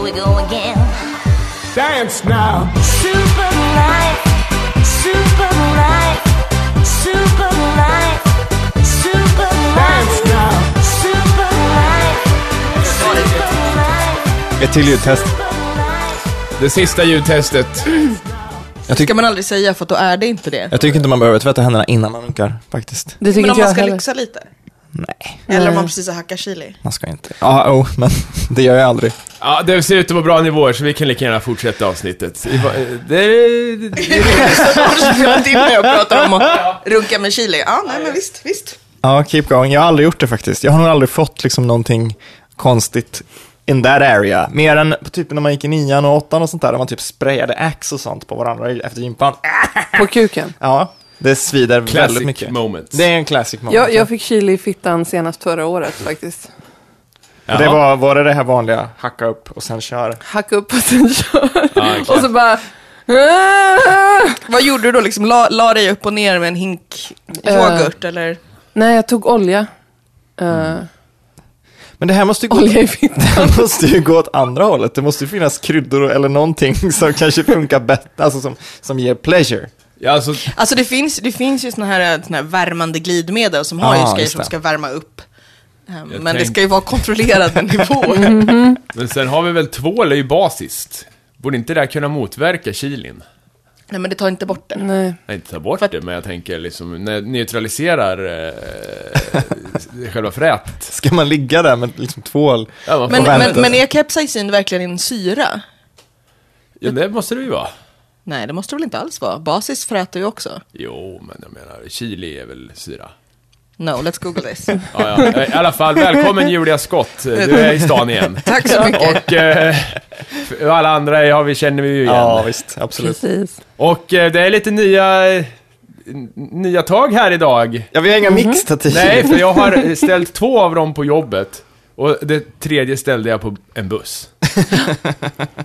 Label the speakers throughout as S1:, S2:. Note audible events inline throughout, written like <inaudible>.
S1: go again.
S2: Dance now.
S1: Super life, super life, super life, super
S2: Dance
S1: life,
S2: now.
S1: super life, super life,
S3: Ett till ljudtest.
S4: Det sista ljudtestet.
S3: Jag
S5: kan
S3: tycker,
S5: man aldrig säga för att då är det inte det.
S3: jag tycker inte man behöver tvätta händerna innan man runkar faktiskt.
S6: Det tycker
S5: Men om
S6: inte jag
S5: man ska
S6: heller.
S5: lyxa lite.
S3: Nej,
S5: Eller om
S6: Nej.
S5: man precis har hackat chili. <laughs>
S3: man ska inte. Ja, oh, men <laughs> det gör jag aldrig.
S4: Ja, det ser ut att vara bra nivåer så vi kan lika gärna fortsätta avsnittet. I va-
S3: eh,
S4: Det, det,
S5: Jag timmar jag pratar om att runka med chili. Ja, nej men visst, visst.
S3: Ja, keep going. Jag har aldrig gjort det faktiskt. Jag har nog aldrig fått liksom någonting konstigt in that area. Mer än på typ när man gick i nian och åttan och sånt där, där man typ sprayade ax och sånt på varandra efter gympan.
S6: På kuken.
S3: Ja, det svider väldigt
S4: classic
S3: mycket.
S4: moment.
S3: Det är en classic moment.
S6: Jag, jag fick chili i fittan senast förra året
S4: Mm.
S6: faktiskt.
S3: Och Det var, var det det här vanliga, hacka upp och sen kör.
S6: Hacka upp och sen kör.
S4: Ja, exakt.
S6: och så bara... "Ah!"
S5: Vad gjorde du då liksom? La, la dig upp och ner med en hink yoghurt
S6: Eh.
S5: eller?
S6: Nej, jag tog olja. Eh,
S4: Mm.
S3: Men det här måste ju gå,
S6: Olja i fittan.
S3: det måste ju gå åt andra hållet. Det måste ju finnas kryddor och- eller någonting <laughs> som kanske funkar bättre, alltså som, som ger pleasure.
S4: ja, alltså,
S5: Alltså det finns, det finns ju såna här, eh, såna här värmande glidmedel som har
S3: Ja,
S5: just grejer
S3: Ah, just
S5: som
S3: det.
S5: ska värma upp. Eh, Men det
S4: tänk-
S5: ska ju
S3: <laughs>
S5: vara kontrollerad nivå.
S6: Mm.
S4: men sen har vi väl tvål, är ju basiskt. Borde inte det här kunna motverka kilin?
S5: Nej men det tar inte bort
S3: Mm.
S5: det.
S6: nej.
S4: Nej, inte ta bort det, men jag tänker liksom ne- neutraliserar eh, <laughs> själva frätet.
S3: Ska man ligga där med liksom tvål?
S4: Ja, man får,
S5: Men,
S3: Och vänta.
S5: men, men är capsaicin verkligen en syra?
S4: ja, det måste det ju vara.
S5: Nej det måste det väl inte alls vara? Basis fräter ju också.
S4: Jo, men jag menar, chili är väl syra.
S5: No, let's google
S6: <laughs>
S5: this.
S4: Ja,
S3: <laughs>
S4: ja. I alla fall, välkommen Julia Skott. Du är i stan igen.
S5: Tack så mycket.
S4: Och eh, för alla andra har vi, känner vi ju igen.
S3: Ja, visst,
S4: Mm.
S3: absolut.
S6: Precis.
S4: Och eh, det är lite nya, eh, n- nya tag här idag.
S3: Ja, vi har inga mixtativ.
S4: Nej, för jag har ställt två av dem på jobbet. Och det tredje ställde jag på en buss.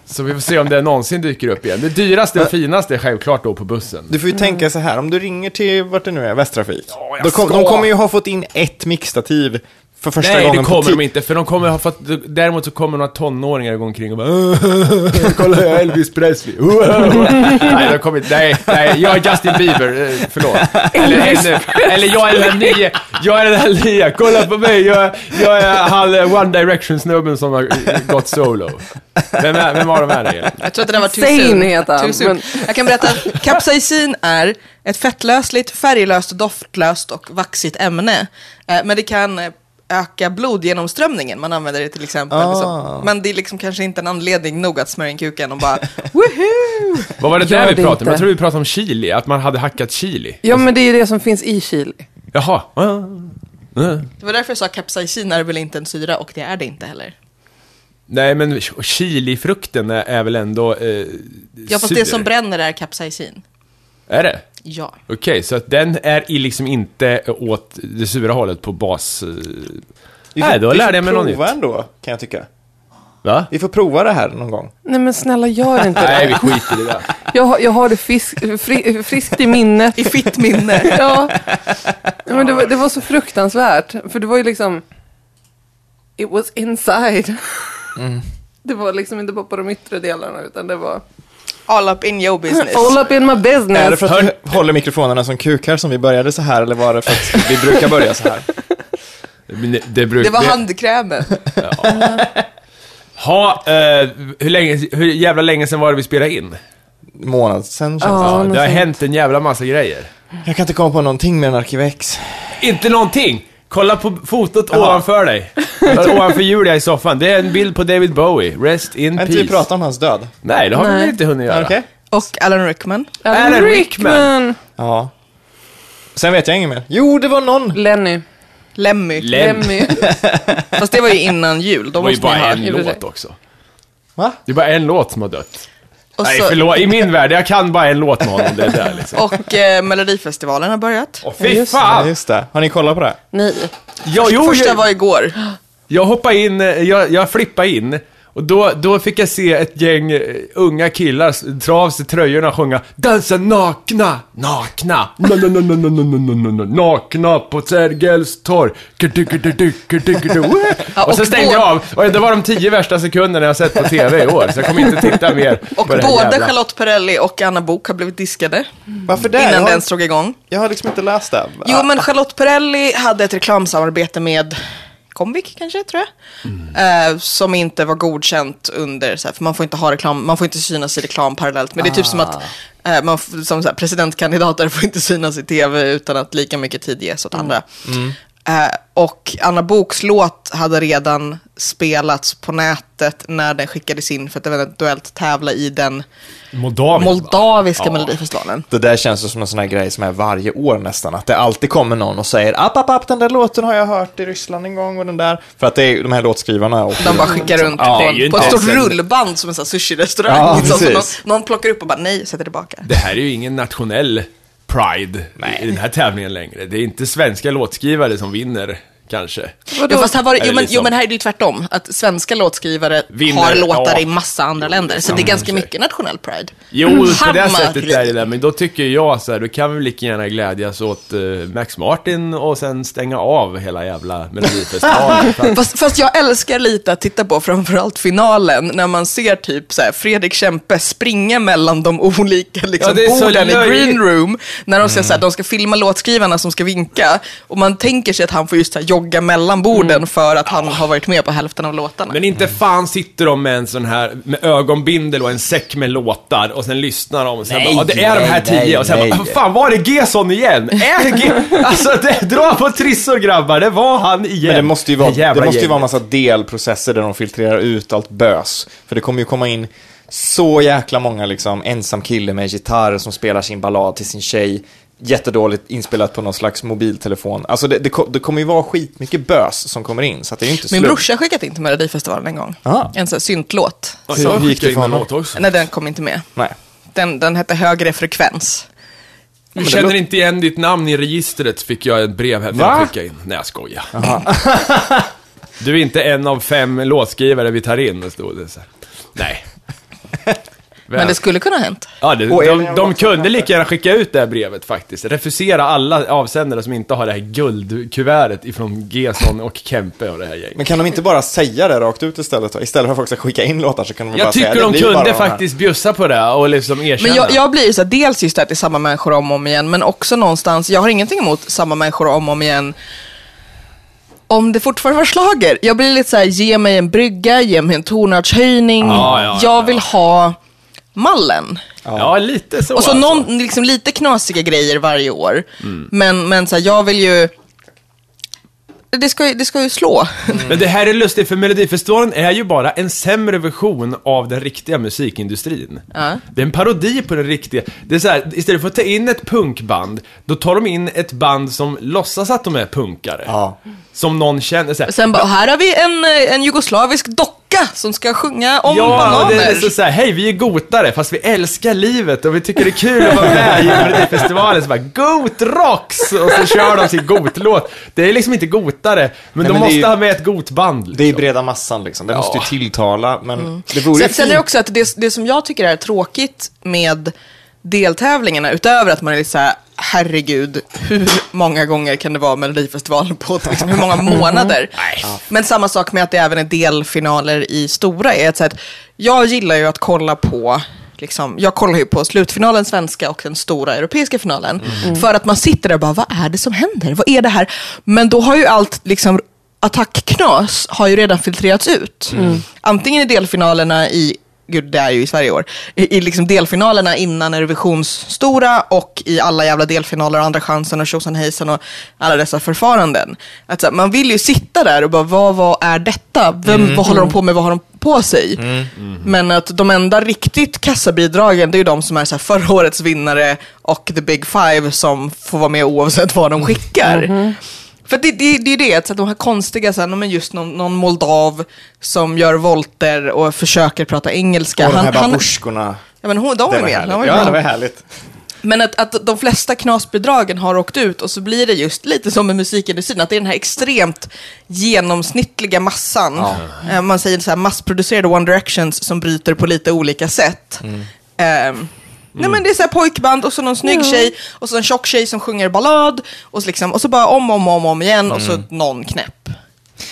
S4: Så vi får se om det någonsin dyker upp igen. Det dyraste och finaste är självklart då på bussen.
S3: Du får ju tänka så här, om du ringer till vart det nu är, Västtrafik.
S4: Ja, jag
S3: då kom,
S4: ska.
S3: de kommer ju ha fått in ett mixtativ för första
S4: Nej, det
S3: gången
S4: kommer
S3: på
S4: de
S3: ti-
S4: inte, för de kommer ha fått, däremot så kommer några tonåringar gå omkring och
S3: <laughs>
S4: bara Kolla, jag är Elvis Presley. nej, de kommer inte, nej, nej, jag är Justin Bieber, eh, förlåt. Eller, eller, eller jag är den här nya, jag är den här nya, kolla på mig, jag, jag är han eh, One Direction-snubben som har eh, gått solo. Vem, är, vem av dem är det? egentligen?
S5: Jag tror att det där var too
S6: Insane
S5: soon.
S6: heter han,
S5: Too soon.
S6: men-
S5: Jag kan berätta att capsaicin är ett fettlösligt, färglöst, doftlöst och vaxigt ämne. Eh, Men det kan eh, öka blodgenomströmningen. Man använder det till exempel.
S3: Ah.
S5: Så. Men det är liksom kanske inte en anledning nog att smörja in kuken och
S6: <laughs>
S5: bara woho!
S4: Vad var det
S6: Gör
S4: där vi
S6: det
S4: pratade om?
S6: inte.
S4: Jag tror vi pratade om chili, att man hade hackat chili.
S6: Ja, men det är ju det som finns i chili.
S4: Jaha. Ah, ah.
S5: Det var därför jag sa att capsaicin är väl inte en syra och det är det inte heller.
S4: Nej, men ch- chilifrukten är, är väl ändå eh,
S5: Ja, fast
S4: sur.
S5: det som bränner är capsaicin.
S4: Är det?
S5: Ja.
S4: Okej, så att den är i liksom inte åt det sura hållet på bas... eh,
S3: Vi får-
S4: Nej, då
S3: vi
S4: lärde
S3: får
S4: jag mig något
S3: prova
S4: nytt.
S3: ändå, kan jag tycka.
S4: Va?
S3: Vi får prova det här någon gång.
S6: Nej, men snälla gör inte
S4: Nej, vi
S6: det.
S4: skiter i det.
S6: Jag, har- jag har det fisk, fri, friskt i minnet.
S5: I fitt <laughs> minne.
S6: Ja, men det var, det var så fruktansvärt. För det var ju liksom, it was inside. Det var liksom inte bara på de yttre delarna, utan det var
S5: All up in your business.
S6: all up in my
S3: Är det
S6: business.
S3: för att du håller mikrofonerna som kukar som vi började så här, eller var det för att vi brukar börja
S4: <laughs>
S3: så här?
S4: Men det, det, bruk,
S5: Det var handkrämen.
S4: Ha, eh, hur, länge, hur jävla länge sedan var det vi spelade in?
S3: Månad sen känns
S6: Ja,
S4: Ja,
S6: något
S4: det har
S6: sånt.
S4: hänt en jävla massa grejer.
S3: det. Jag kan inte komma på någonting med en Arkivex.
S4: Inte någonting! Kolla på fotot ovanför dig. Eller ovanför Julia i soffan. Det är en bild på David Bowie. Rest in
S3: Kan
S4: peace.
S3: inte vi prata om hans död?
S4: Nej, det har vi
S6: Nej.
S4: väl inte hunnit göra.
S3: Okej?
S5: Och Alan Rickman.
S6: Alan
S4: Alan
S6: Rickman.
S3: Ja. Sen vet jag inget mer. Jo, det var någon!
S6: Lenny.
S5: Lemmy.
S4: Lem. Det
S6: Lemmy.
S5: Fast det var ju innan jul. Då
S4: var ju
S5: måste
S4: bara
S5: ni ha.
S4: en
S6: i och för sig.
S4: låt också.
S3: Va?
S4: Det är bara en låt som har dött.
S5: Och,
S4: Nej,
S5: så,
S4: förlåt. I min värld, jag kan bara en låt med honom. Det är där liksom.
S5: och eh, Melodifestivalen har börjat.
S4: Åh, fy
S6: Just det.
S3: Ja,
S4: fan!
S3: just det. Har ni kollat på det?
S6: Nej.
S4: Jag, jo,
S5: Första
S4: jag,
S5: var igår.
S4: jag hoppade in, eh, jag, jag flippade in Och då, då fick jag se ett gäng eh, unga killar s- dra av sig tröjorna och sjunga Dansa nakna, nakna, na na na na na na na na na nakna på Sergels torg. Kudu-kudu-du, kudu-kudu, wee."
S5: <laughs> Ja,
S4: Och så
S5: och
S4: stängde jag
S5: båda-
S4: av. Och det var de tio värsta sekunderna jag sett på TV i år. Så jag kommer inte titta mer
S5: <laughs> Och
S4: på det här
S5: både
S4: jävla-
S5: Charlotte Perrelli och Anna Bok har blivit diskade
S3: Varför det?
S5: innan
S3: jag,
S5: den
S3: har,
S5: slog igång.
S3: jag har liksom inte läst det.
S5: Jo, men Charlotte Perrelli hade ett reklamsamarbete med Comviq kanske, tror jag. Eh, som inte var godkänt under, så här, för man får inte ha reklam, man får inte synas i reklam parallellt. Men det är typ som att eh, man, f- som så här, presidentkandidater <laughs> får inte synas i tv utan att lika mycket tid ges åt andra. Eh, och Anna Boks låt hade redan spelats på nätet när den skickades in för att eventuellt tävla i den
S4: Moldavien.
S5: moldaviska melodifestivalen.
S3: Det där känns ju som en sån här grej som är varje år nästan. Att det alltid kommer någon och säger app, app, app, den där låten har jag hört i Ryssland en gång och den där. För att det är ju de här låtskrivarna. Och
S5: De bara skickar runt
S3: Ja,
S5: på,
S3: det är ju
S5: på ett
S3: inte
S5: stort
S3: ens en-
S5: rullband som en sån här sushi-restaurang.
S3: Ja,
S5: liksom, <laughs> som någon,
S3: precis.
S5: någon plockar upp och bara nej, sätter tillbaka.
S4: Det här är ju ingen nationell pride i den här tävlingen längre. Det är inte svenska låtskrivare som vinner, kanske.
S5: Jo, fast här var det,
S4: Eller
S5: jo, men, jo,
S4: liksom-
S5: men här är det ju tvärtom. Att svenska låtskrivare
S4: Vinner,
S5: har låtar
S4: ja.
S5: i massa andra länder. Så det är ganska mycket nationell pride.
S4: Jo, på det
S5: Samma
S4: sättet är det
S5: grej.
S4: där. Men då tycker jag så här, då kan vi lika gärna glädjas åt eh, Max Martin och sen stänga av hela jävla
S3: <laughs>
S4: Melodifestivalen. För att-
S5: Fast, fast jag älskar lite att titta på framförallt finalen när man ser typ så här, Fredrik Kempe springa mellan de <laughs> olika liksom,
S4: Ja, det är så
S5: borden i
S4: löjligt.
S5: green room. När de, ser så här, de ska filma låtskrivarna som ska vinka. Och man tänker sig att han får just så här, jogga mellan borden för att han har varit med på hälften av låtarna.
S4: Men inte fan sitter de med en sån här, med ögonbindel och en säck med låtar och sen lyssnar de och sen
S3: Nej,
S4: bara, "Ja, det är de här
S3: nej,
S4: tio
S3: nej,
S4: och sen
S3: nej.
S4: bara, fan var det Gesson igen? Är det G-" <laughs> Alltså det, dra på trissor grabbar, det var han igen.
S3: Men det måste ju vara, det
S4: jävla
S3: måste ju vara en
S4: gänget.
S3: massa delprocesser där de filtrerar ut allt bös. För det kommer ju komma in så jäkla många liksom ensam kille med gitarr som spelar sin ballad till sin tjej. Jättedåligt inspelat på någon slags mobiltelefon. Alltså det, det, ko- det kommer ju vara skitmycket bös som kommer in. Så att det är ju inte
S5: Min
S3: slump.
S5: brorsa har skickat in till Melodifestivalen en gång.
S3: Ah.
S5: En sån här syntlåt.
S3: Hur
S4: Så
S3: gick det för honom?
S4: låt också.
S5: Nej, den kom inte med.
S3: Nej.
S5: Den, den hette Högre frekvens.
S4: Du
S3: det
S4: känner
S3: låter-
S4: inte igen ditt namn i registret, fick jag ett brev här.
S3: Va?
S4: Va? Skicka in. Nej, jag skojar. du är inte en av fem låtskrivare vi tar in, stod det så här. Nej.
S5: Men det skulle kunna ha hänt.
S4: Ja, det,
S3: Och Elin
S4: de,
S3: har
S4: de
S3: också
S4: kunde lika gärna skicka ut det här brevet faktiskt. Refusera alla avsändare som inte har det här guldkuvertet ifrån Gesson och Kempe och det här gänget.
S3: Men kan de inte bara säga det rakt ut istället då? Istället för att folk ska skicka in låtar så kan de bara
S4: Jag
S3: säga
S4: tycker
S3: det
S4: de
S3: blir bara
S4: kunde
S3: här."
S4: faktiskt bjussa på det och liksom erkänna.
S5: Men jag, jag blir ju så här, dels just det att det är samma människor om och om igen, men också någonstans, jag har ingenting emot samma människor om och om igen. Om det fortfarande var slager. Jag blir lite så här, ge mig en brygga, ge mig en tonartshöjning.
S4: Ja, ja, ja,
S5: jag vill ha mallen.
S4: Ja, lite så
S5: Och så
S4: alltså.
S5: någon, liksom lite knasiga grejer varje år. Men, men så här, jag vill ju... Det ska, ju- det ska ju slå.
S4: Men det här är lustigt för Melodifestivalen är ju bara en sämre version av den riktiga musikindustrin.
S5: Ja.
S4: Det är en parodi på den riktiga. Det är så här, istället för att ta in ett punkband, då tar de in ett band som låtsas att de är punkare.
S3: Ja.
S4: Som någon känner så här,
S5: Sen bara, här har vi en, eh, en jugoslavisk docka som ska sjunga om
S4: Ja,
S5: bananer.
S4: det är liksom såhär, hej vi är gotare fast vi älskar livet och vi tycker det är kul att vara med i Melodifestivalen. Så bara, Got rocks! Och så kör de sin gotlåt. Det är liksom inte gotare, men de
S3: men det är
S4: måste
S3: ju-
S4: ha med ett gotband. Liksom.
S3: Det är breda massan liksom. Det måste ju tilltala. Men
S4: Mm.
S3: det vore ju
S5: Sen, sen är det
S3: fint.
S5: också att det, det som jag tycker är tråkigt med deltävlingarna, utöver att man är lite såhär, herregud, hur många gånger kan det vara Melodifestivalen på liksom, hur många månader? Men samma sak med att det även är delfinaler i stora, är att, så här, att jag gillar ju att kolla på Liksom, jag kollar ju på slutfinalen svenska och den stora europeiska finalen. För att man sitter där och bara, vad är det som händer? Vad är det här? Men då har ju allt liksom attackknas har ju redan filtrerats ut. Antingen i delfinalerna i, gud det är ju i Sverige i år, i, i liksom delfinalerna innan Eurovisionssstora och i alla jävla delfinaler och Andra chansen och tjosan hejsan och alla dessa förfaranden. Att, så här, man vill ju sitta där och bara, vad, vad är detta? Vem, Vad håller de på med? Vad har de på sig? Men att de enda riktigt kassabidragen, det är ju de som är så här, förra årets vinnare och the big five som får vara med oavsett vad de skickar. För det, det, det är ju det, att så att de här konstiga, så här, men just någon, någon moldav som gör volter och försöker prata engelska.
S3: Och de här
S5: han,
S3: babusjkorna.
S5: ja, men hon, de var
S3: Det
S5: ju
S3: var härligt.
S5: med. De var ju
S3: ja, det var
S5: med.
S3: härligt.
S5: Men att, att de flesta knasbidragen har åkt ut och så blir det just lite som med musikindustrin, att det är den här extremt genomsnittliga massan. Eh, Man säger så här massproducerade One Directions som bryter på lite olika sätt. Ehm, Nej men det är så här pojkband och så någon snygg tjej och så en tjock tjej som sjunger ballad och så, liksom, och så bara om om om om igen och så någon knäpp.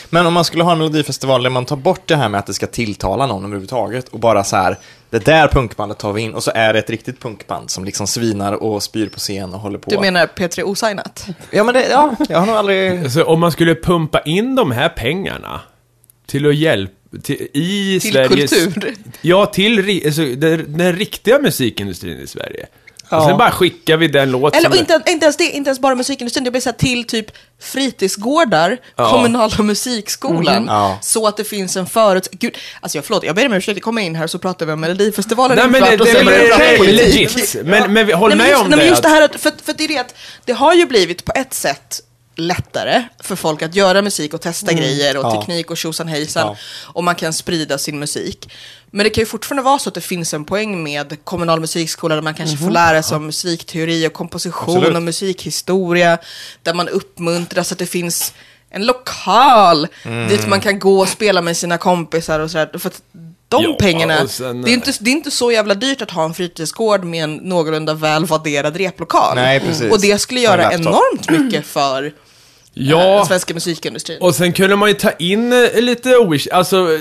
S3: Men om man skulle ha en melodifestival där man tar bort det här med att det ska tilltala någon överhuvudtaget och bara så här, det där punkbandet tar vi in och så är det ett riktigt punkband som liksom svinar och spyr på scen och håller på.
S5: Du menar P3 Osignat?
S3: Ja, men det, ja, jag har nog aldrig...
S4: Alltså, om man skulle pumpa in de här pengarna till att hjälpa till, i
S5: Till
S4: Sveriges...
S5: kultur.
S4: Ja, till ri- alltså, den, den riktiga musikindustrin i Sverige. Och
S3: Ja.
S4: sen bara skickar vi den låt
S5: Eller och
S4: som...
S5: inte, inte ens det, inte ens bara musikindustrin, det blir så här till typ fritidsgårdar,
S4: Ja. Mm.
S5: kommunala musikskolan,
S3: Ja.
S5: så att det finns en förut... Gud, alltså jag förlåt, jag ber om ursäkt, jag kommer in här så pratar vi om Melodifestivalen i
S4: Nej
S5: en
S4: men det,
S5: kvart
S4: det,
S5: och
S4: det,
S5: sen börjar vi prata
S4: det är
S5: politik.
S4: legit. Men, men vi- håll
S5: nej, men
S4: med
S5: just,
S4: om det.
S5: nej, Men just det
S4: att-
S5: här att, för, för det är det att det har ju blivit på ett sätt lättare för folk att göra musik och testa
S4: Mm.
S5: grejer och
S3: Ja.
S5: teknik och tjosan hejsan.
S3: Ja.
S5: Och man kan sprida sin musik. Men det kan ju fortfarande vara så att det finns en poäng med kommunal musikskola där man kanske får lära sig om musikteori och komposition
S3: Mhm. Absolut.
S5: och musikhistoria. Där man uppmuntras att det finns en lokal
S3: Mm.
S5: dit man kan gå och spela med sina kompisar och sådär. För att de
S4: Ja,
S5: pengarna,
S4: och sen-
S5: det är,
S3: eh,
S5: inte, det är inte så jävla dyrt att ha en fritidsgård med en någorlunda väl vadderad replokal.
S3: Nej, precis.
S5: Och det skulle
S3: Och en
S5: göra
S3: laptop.
S5: enormt mycket för eh, den
S4: Ja,
S5: svenska musikindustrin.
S4: och sen kunde man ju ta in eh, lite Wish, alltså eh,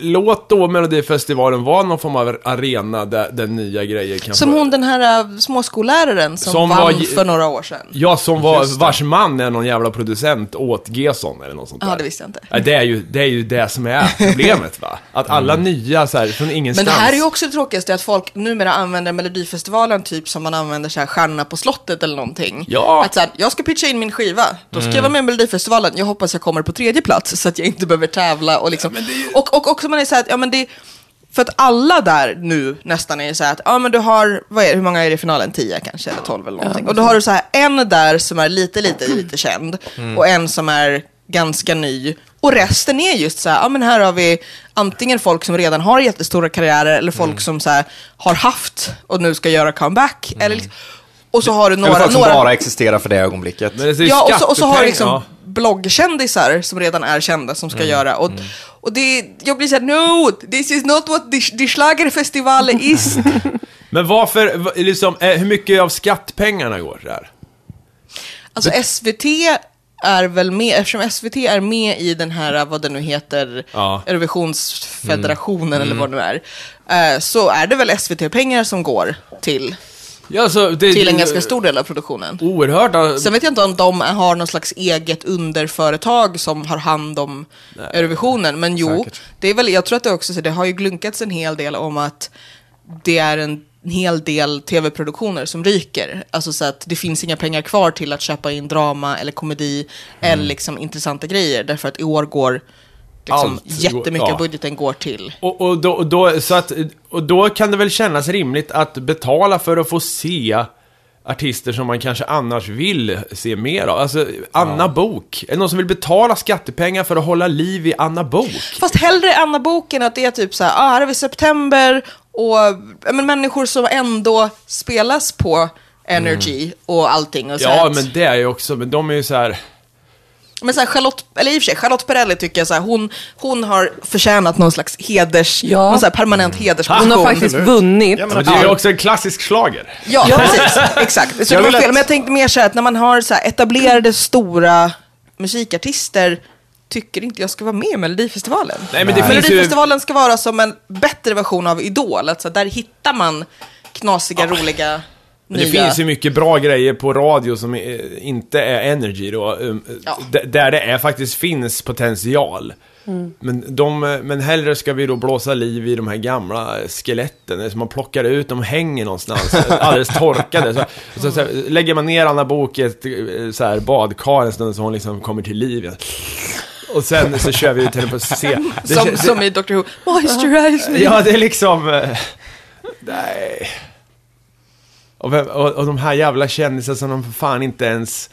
S4: låt då Melodifestivalen vara någon form av arena där, där nya grejer kan
S5: som
S4: få-
S5: hon den här eh, småskolläraren som,
S4: Som
S5: vann
S4: var ge-
S5: för några år sedan.
S4: Ja, som var,
S3: Just det.
S4: vars man är någon jävla producent åt Gesson eller något sånt där.
S5: Ja, det visste jag inte.
S4: Ja, det, är ju, det är ju det som är problemet va?
S5: <laughs>
S4: Att alla nya så här, från
S5: Men
S4: ingenstans.
S5: det här är ju också det tråkigaste, att folk numera använder Melodifestivalen typ som man använder så här Stjärna på slottet eller någonting.
S4: Ja.
S5: Att så här, jag ska pitcha in min skiva, då ska jag vara med i Melodifestivalen, jag hoppas jag kommer på tredje plats så att jag inte behöver tävla och liksom. och, och också man är så här, att, ja men det, för att alla där nu nästan är så här att, ja men du har, vad är det, hur många är det i finalen? 10 kanske, eller 12 eller någonting. och då har du så här en där som är lite, lite, lite känd
S3: Mm.
S5: och en som är ganska ny. Och resten är just så här, ja men här har vi antingen folk som redan har jättestora karriärer
S3: Mm.
S5: eller folk som så här har haft och nu ska göra comeback. Eller, liksom- och så har du
S3: Mm. Eller
S5: några,
S3: folk som bara
S5: några
S3: existerar för det ögonblicket.
S4: Men det är ju
S5: ja, och, så, och så har
S4: skattepengar,
S5: du liksom
S4: ja. Mm.
S5: bloggkändisar som redan är kända som ska göra. Och, och det, jag blir såhär, no, this is not what the, the Schlagerfestival
S4: <laughs>
S5: is.
S4: Men varför, va- liksom, eh, hur mycket av skattpengarna går där?
S5: Alltså SVT är väl med, eftersom SVT är med i den här, vad det nu heter,
S4: Ja. Mm.
S5: Eurovisionsfederationen eller vad det nu är, eh, så är det väl SVT-pengar som går till,
S4: Ja, så det,
S5: till en
S4: det-
S5: ganska stor del av produktionen.
S4: Oerhört. eh,
S5: Sen vet jag inte om de har någon slags eget underföretag som har hand om Eurovisionen, men jo,
S4: Säkert.
S5: det är väl, jag tror att det också, så det har ju glunkats en hel del om att det är en en hel del tv-produktioner som ryker. Alltså så att det finns inga pengar kvar till att köpa in drama eller komedi eller
S4: Mm.
S5: liksom intressanta grejer. Därför att i år går liksom
S4: Allt går-
S5: jättemycket
S4: ja.
S5: av budgeten går till.
S4: Och, och, då, och, då, så att, och då kan det väl kännas rimligt att betala för att få se artister som man kanske annars vill se mer av. Alltså, Anna Bok. Är det någon som vill betala skattepengar för att hålla liv i Anna Bok?
S5: Fast hellre Anna boken att det är typ så här, ah, här är vi september och ja, men människor som ändå spelas på energy och allting. Och så här
S4: Mm. Ja,
S5: att-
S4: men det är ju också, men de är ju så här.
S5: men så här, Charlotte, eller i och för sig, Charlotte Perrelli tycker jag så här, hon, hon har förtjänat någon slags heders,
S6: Ja.
S5: någon så här permanent
S4: Mm.
S5: hedersposition.
S6: Hon har faktiskt vunnit.
S3: Ja, men
S4: Men det är ju också en klassisk slager.
S5: Ja, precis. Exakt. Så
S3: Jag
S5: det var
S3: vill
S5: fel.
S3: att-
S5: Men jag tänkte mer så här att när man har så här etablerade stora musikartister tycker inte jag ska vara med i Melodifestivalen.
S4: Nej, men det finns ju-
S5: Melodifestivalen ska vara som en bättre version av Idol. Alltså, där hittar man knasiga, roliga,
S4: Men det
S5: nya...
S4: finns ju mycket bra grejer på radio som eh, inte är energy då. um, eh,
S5: Ja.
S4: d- Där det är, faktiskt finns potential.
S5: Mm.
S4: Men, de, eh, men hellre ska vi då blåsa liv i de här gamla eh, skeletten. eh, Som man plockar ut, de hänger
S5: <laughs>
S4: någonstans. eh, Alldeles torkade. Så, och så, så här, lägger man ner Anna Book i ett eh, så här, badkar en stund så hon liksom kommer till liv. igen. Och sen så kör vi ut henne på scen. Det
S5: som,
S4: kän- det-
S5: som i Dr Who. Moisturize
S4: <laughs>
S5: me.
S4: Ja, det är liksom... eh, Nej. Och, vem, och, och de här jävla kändisarna som de för fan inte ens...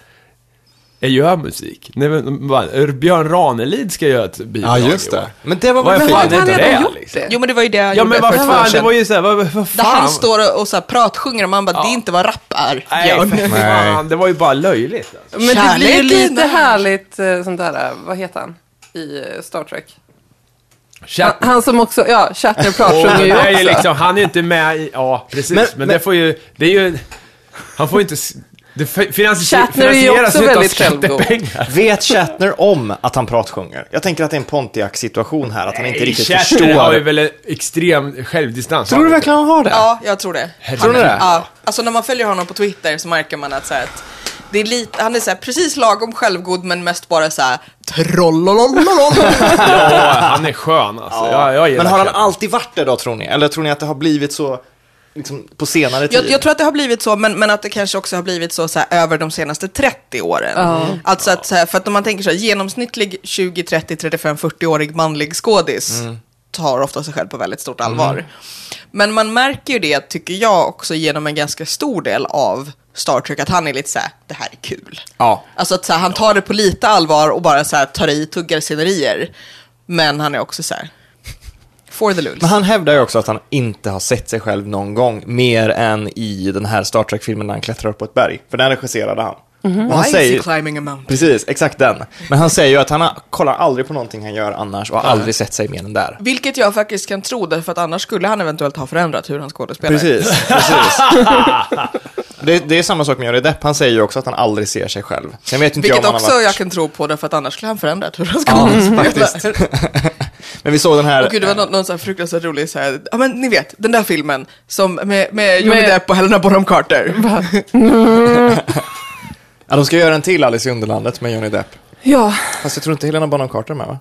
S4: jag gör musik. Nej, men, bara, eh, Björn Ranelid ska göra ett bidrag
S3: Ja, just
S4: i år.
S3: det. Men det var
S4: Vad
S3: väl
S4: fan
S6: hade
S4: är
S6: han
S4: det,
S6: redan gjort
S4: liksom?
S6: det?
S5: Jo men det var ju det jag
S4: Ja
S5: gjorde
S4: men vad
S5: för ett år
S4: fan, det
S5: sedan.
S4: var ju såhär, vad, vad
S5: Där
S4: fan.
S5: han står och, och så här pratsjunger och man bara, det är inte vad rap är.
S4: Nej,
S5: Björn.
S4: för fan, det var ju bara löjligt. Alltså.
S6: Men det blir ju
S5: Kärleken
S6: lite
S5: är-
S6: härligt eh, sånt där, eh, vad heter han? I eh, Star Trek. Han,
S4: Chat-
S6: han som också, ja, Shatner
S4: Och
S6: pratsjunger
S4: det
S6: ju
S4: är ju
S6: också.
S4: liksom, han är ju inte med i, ja precis, men,
S3: Men-
S4: det
S3: men-
S4: får ju, det är ju, han får ju inte, s- det fi- finans,
S6: Shatner är ju
S4: finansieras
S6: också
S4: ju inte av
S6: väldigt självgod.
S4: skattepengar.
S3: Vet Shatner om att han pratsjunger? Jag tänker att det är en Pontiac-situation här, att han inte riktigt
S4: Shatner
S3: förstår.
S4: har ju väl en extrem självdistans.
S3: Tror du verkligen han har det?
S5: Ja, jag tror det.
S3: Tror ni det?
S5: Ja, alltså när man följer honom på Twitter så märker man att, så här, att det är lite, han är så här, precis lagom självgod men mest bara så här trollolololol.
S4: Ja, han är skön alltså. Jag, jag gillar
S3: Men har han
S4: Shatner.
S3: alltid varit det då, tror ni? Eller tror ni att det har blivit så, liksom, på senare tid?
S5: jag, jag tror att det har blivit så, men, men att det kanske också har blivit så, så här, över de senaste 30 åren. Alltså att, så här, för att om man tänker så här, genomsnittlig 20, 30, 35, 40-årig manlig skådis
S3: Mm.
S5: tar ofta sig själv på väldigt stort allvar. Men man märker ju det, tycker jag, också genom en ganska stor del av Star Trek, att han är lite så här, det här är kul.
S3: Ja.
S5: Alltså att så här, han tar det på lite allvar och bara så här, tar i, tuggar scenerier. Men han är också så här, for the lulz.
S3: Men han hävdar ju också att han inte har sett sig själv någon gång, mer än i den här Star Trek-filmen när han klättrar upp på ett berg. För den regisserade han. Och han
S5: Mhm. Why is he
S3: säger,
S5: climbing a mountain?
S3: precis, exakt den. Men han säger ju att han har, kollar aldrig på någonting han gör annars och har aldrig sett sig mer än där.
S5: Vilket jag faktiskt kan tro, därför att annars skulle han eventuellt ha förändrat hur han
S3: <laughs>
S5: skådespelar.
S3: Precis, precis. det, det är samma sak med Johnny Depp, han säger ju också att han aldrig ser sig själv. Sen vet inte
S5: Vilket
S3: jag om han
S5: också
S3: har varit...
S5: jag kan tro på, därför att annars skulle han förändrat hur han
S3: Ja,
S5: <laughs> skådespelar.
S3: faktiskt. <laughs> Men vi såg den här...
S5: Och gud, det var någon, någon så här fruktansvärt rolig så här, ja men ni vet, den där filmen som med, med Johnny
S6: Med-
S5: Depp och Helena Bonham
S6: <laughs>
S5: Carter.
S3: Ja, de ska göra en till Alice i Underlandet med Johnny Depp.
S6: Ja,
S3: Fast jag tror inte Helena Bonham Carter är med va?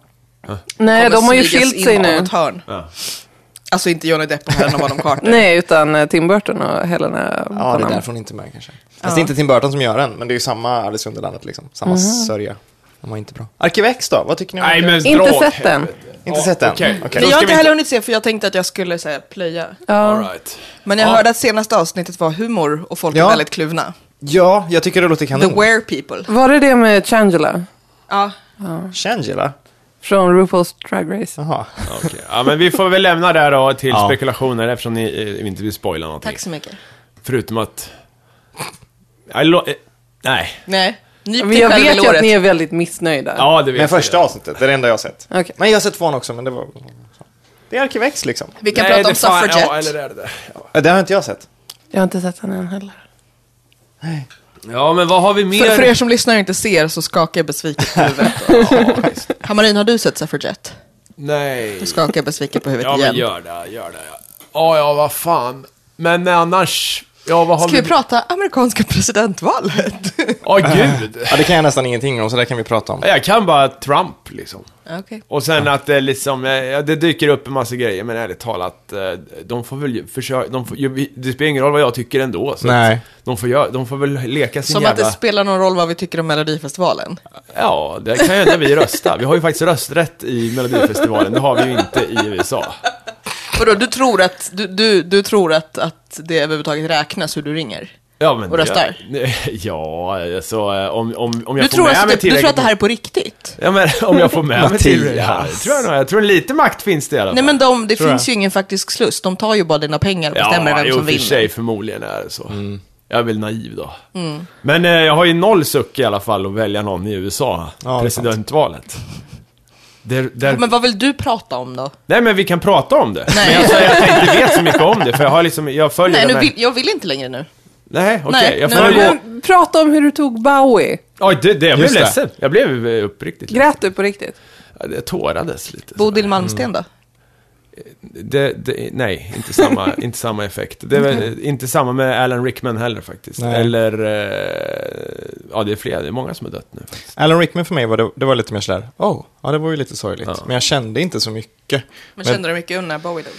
S6: nej, de har ju
S5: Smygas
S6: skilt
S5: in
S6: sig
S5: av
S6: nu.
S5: ett hörn. Alltså inte Johnny Depp och Helena Bonham Carter.
S6: <laughs> Nej, utan eh, Tim Burton och Helena
S3: Ja, det är
S6: Bonham.
S3: därför hon inte är med kanske. Fast det är inte Tim Burton som gör den, men det är ju samma Alice i Underlandet liksom.
S5: Mhm.
S3: Samma sörja. De var inte bra. Arkiv X då? Vad tycker ni om
S4: Nej,
S3: Arkiv
S4: men
S3: X?
S6: Inte
S4: dra åt
S6: sett den.
S4: helvete.
S3: Inte sett den?
S4: Okej,
S3: Okej.
S5: Men
S4: då
S5: jag har
S4: ska
S5: inte
S4: vi
S5: heller hunnit se, för jag tänkte att jag skulle så här, plöja.
S6: Ja.
S4: All right.
S5: Men jag
S4: Ja.
S5: hörde att senaste avsnittet var humor och folk är
S3: Ja. Mm.
S5: väldigt kluvna.
S3: Ja, jag tycker det låter
S5: The
S3: kanon.
S5: Where People.
S6: Var det det med Changela?
S5: Ja.
S3: Shangela?
S6: Från RuPaul's Drag Race?
S3: Jaha.
S4: Okej. Ja, men vi får väl lämna det här då till
S3: Ja.
S4: spekulationer eftersom ni eh, inte vill spoila någonting.
S5: Tack så mycket.
S4: Förutom att... Jag lo- eh, Nej.
S5: Nej. Nyp
S6: Men
S5: dig
S6: jag
S5: själv i
S6: vet ju
S5: låret.
S6: att ni är väldigt missnöjda.
S4: Ja, det vet
S3: Men första
S4: jag.
S3: avsnittet, det är det enda jag har sett.
S6: Okej.
S3: Men jag har sett tvåan också, men det var... Det är Arkiv X liksom.
S5: Vi kan
S4: Nej,
S5: prata om
S4: det fan-
S5: suffragette.
S4: Ja, eller det är det. Ja.
S3: Ja, Det har inte jag sett.
S6: Jag har inte sett den än heller.
S4: ja, men vad har vi mer?
S5: för, för er som lyssnar och inte ser så skakar jag besviket på huvudet. <laughs> Hammarin, har du sett Suffragette?
S4: Nej.
S5: Du skakar besviket på huvudet
S4: Ja, men
S5: igen.
S4: gör det, gör det. Ja, ja, ja vad fan. Men annars... Ja, vad har
S5: Ska vi
S4: vi...
S5: prata amerikanska
S4: <laughs>
S5: presidentvalet?
S4: Åh,
S3: <laughs>
S4: gud.
S3: Ja, det kan jag nästan ingenting om, så det kan vi prata om.
S4: Jag kan bara Trump, liksom.
S5: Okej.
S4: Och sen att det liksom, eh, ja, det dyker upp en massa grejer, men ärligt talat, eh, de får väl ju försöka, de får, ju- vi- det spelar ingen roll vad jag tycker ändå. Så
S3: Nej.
S4: att De får, göra, de får väl leka sin
S5: Som att
S4: jävla...
S5: det spelar någon roll vad vi tycker om Melodifestivalen.
S4: Ja, det kan ju när vi röstar. Vi har ju faktiskt rösträtt i Melodifestivalen, det har vi ju inte i USA.
S5: Vadå, du tror att, du, du, du tror att, att det överhuvudtaget räknas hur du ringer?
S4: Ja, men
S5: Och röstar?
S4: <laughs> Ja, så eh, om, om, om jag får
S5: Du tror,
S4: med
S5: alltså,
S4: mig
S5: det, du tror att det här
S4: tillräckligt-
S5: är på riktigt?
S4: Ja, men om jag får med mig till
S3: Mattias.
S4: ja, det tror jag nog. Jag tror lite makt finns det i alla fall.
S5: Nej men de, det
S4: Tror jag.
S5: finns ju ingen faktisk sluss, de tar ju bara dina pengar och bestämmer
S4: ja,
S5: vem
S4: jo,
S5: som
S4: för
S5: vinner.
S4: sig förmodligen är det så.
S3: Mm.
S4: Jag är väl naiv då.
S5: Mm.
S4: Men eh, jag har ju noll suck i alla fall att välja någon i USA.
S3: det är
S4: presidentvalet. Där, där...
S5: Men vad vill du prata om då?
S4: Nej men vi kan prata om det.
S5: Nej.
S4: Men alltså, jag tänkte inte vet så mycket om det för jag har liksom, jag följer
S5: <laughs> Nej,
S4: den
S5: nu
S4: här...
S5: vill, jag vill inte längre nu.
S4: Nej, okej.
S5: Nej,
S4: jag
S5: nu-
S4: följer...
S5: nu-
S6: Men prata om hur du tog Bowie.
S4: Oj, det, det, jag blev
S3: Just det.
S4: ledsen. Jag blev eh, uppriktigt ledsen.
S6: Grät du på riktigt?
S4: Ja, det tårades lite.
S5: Bodil
S3: Mm.
S5: Malmsten då?
S4: Det, det, nej, inte samma, <laughs> inte samma effekt. Det är
S5: Mm.
S4: väl, inte samma med Alan Rickman heller faktiskt.
S3: Nej.
S4: Eller, eh, ja det är flera, det är många som har dött nu.
S3: Alan Rickman för mig var det, det var lite mer sådär, oh, ja det var ju lite sorgligt. Men jag kände inte så mycket.
S5: Men kände du mycket under Bowie då?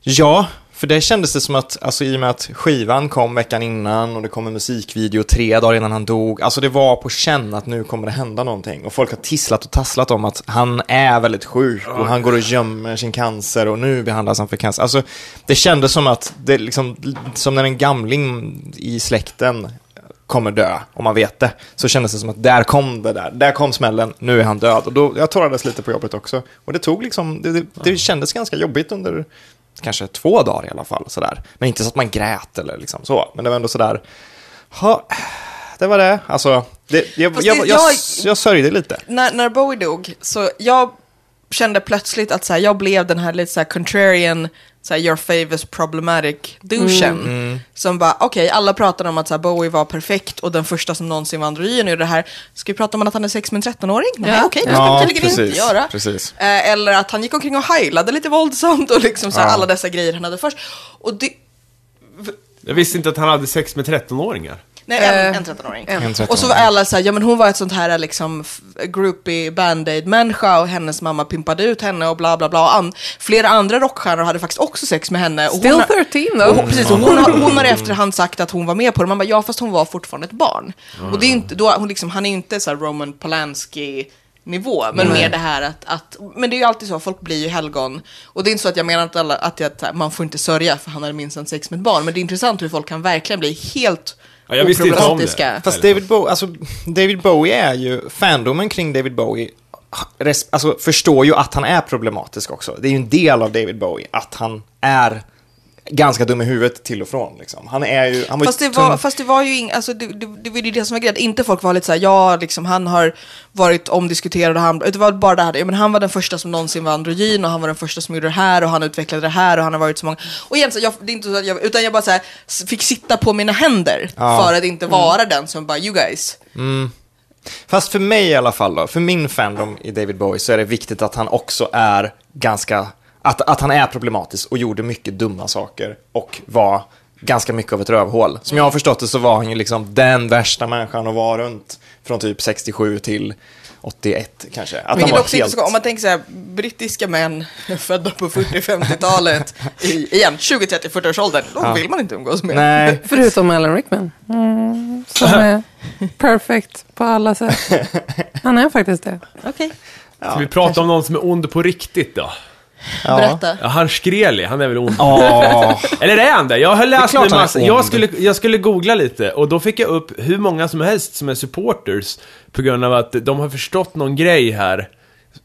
S3: Ja, för det kändes det som att, alltså i och med att skivan kom veckan innan och det kom en musikvideo tre dagar innan han dog, alltså det var på känn att nu kommer det hända någonting. Och folk har tisslat och tasslat om att han är väldigt sjuk och han går och gömmer sin cancer och nu behandlas han för cancer. Alltså det kändes som att det liksom, som när en gamling i släkten kommer dö, om man vet det. Så kändes det som att där kom det där, där kom smällen, nu är han död. Och då, jag torrades lite på jobbet också. Och det tog liksom, det, det, det kändes ganska jobbigt under kanske två dagar i alla fall. Sådär. Men inte så att man grät eller liksom så, men det var ändå sådär, ha, det var det. Alltså, det, jag, jag,
S5: Fast det-
S3: jag, jag,
S5: jag-
S3: jag sörjde lite.
S5: när, när Bowie dog, så jag kände plötsligt att så här, jag blev den här lite så här contrarian, så här, your favors problematic douchen.
S3: Mm.
S5: Som bara, okej, alla pratade om att så här, Bowie var perfekt och den första som någonsin var androgyn och det här. Ska vi prata om att han är sex med en 13-åring? Nej,
S6: Ja.
S5: okej, det ska
S3: Ja,
S5: vi tydligen
S3: precis,
S5: inte göra.
S3: precis.
S5: Eh, eller att han gick omkring och heilade lite våldsamt och liksom så här,
S3: Ja.
S5: alla dessa grejer han hade först. Och det,
S4: Jag visste inte att han hade sex med 13-åringar.
S5: Nej, en,
S6: Eh,
S5: en 13-åring.
S3: en 13-åring.
S5: Och så var alla så här, ja men hon var ett sånt här liksom f- groupie band-aid-människa och hennes mamma pimpade ut henne och bla bla bla. Och an- flera andra rockstjärnor hade faktiskt också sex med henne. Och
S6: Still
S5: hon har-
S6: 13 though.
S4: Mm.
S5: och precis, och hon, har, hon har i efterhand sagt att hon var med på det. Man bara, ja fast hon var fortfarande ett barn.
S4: Mm.
S5: Och det är inte, då, hon liksom, han är inte så här Roman Polanski nivå, men mer det här att, att, men det är ju alltid så, folk blir ju helgon. Och det är inte så att jag menar att, alla, att, jag, att man får inte sörja för han hade minst en sex med ett barn, men det är intressant hur folk kan verkligen bli helt
S4: Ja, jag visste inte om det.
S5: oproblematiska.
S3: Fast David Bowie, alltså David Bowie är ju, fandomen kring David Bowie res, alltså, förstår ju att han är problematisk också. Det är ju en del av David Bowie, att han är ganska dum i huvudet till och från. Liksom. Han är ju, han var ju
S5: Fast det,
S3: tung-
S5: var, fast det var ju ing, alltså det, det, det var ju det som var grejen, att inte folk var lite såhär, ja liksom han har varit omdiskuterad och han, det var bara det här, ja, men han var den första som någonsin var androgyn och han var den första som gjorde det här och han utvecklade det här och han har varit så många, och igen så jag, det är inte så att jag, utan jag bara så här, s- fick sitta på mina händer
S3: Ja. Mm.
S5: för att inte vara den som bara, you guys.
S3: Fast för mig i alla fall då, för min fandom i David Bowie så är det viktigt att han också är ganska, att, att han är problematisk och gjorde mycket dumma saker och var ganska mycket av ett rövhål. Som jag har förstått det så var han ju liksom den värsta människan att vara runt från typ 67 till 81 kanske. Att han
S5: Vilket
S3: var
S5: också inte så, om man tänker så här, brittiska män <laughs> födda på 40-50-talet, i, igen 20-30-40-årsåldern, de vill man inte umgås med.
S3: Nej,
S6: <laughs>
S5: <laughs>
S6: Förutom Alan Rickman. Mm, som är perfekt på
S5: <laughs>
S6: alla sätt. Han är faktiskt det.
S5: Okej,
S4: Ska vi prata om någon som är ond på riktigt då?
S3: ja.
S5: berätta.
S4: Ja, han Skreli, han är väl ond?
S3: Åh,
S4: Eller är han det? Jag höll läst
S3: klart
S4: en
S3: han är
S4: massa.
S3: ond.
S4: Jag skulle, jag skulle googla lite och då fick jag upp hur många som helst som är supporters på grund av att de har förstått någon grej här.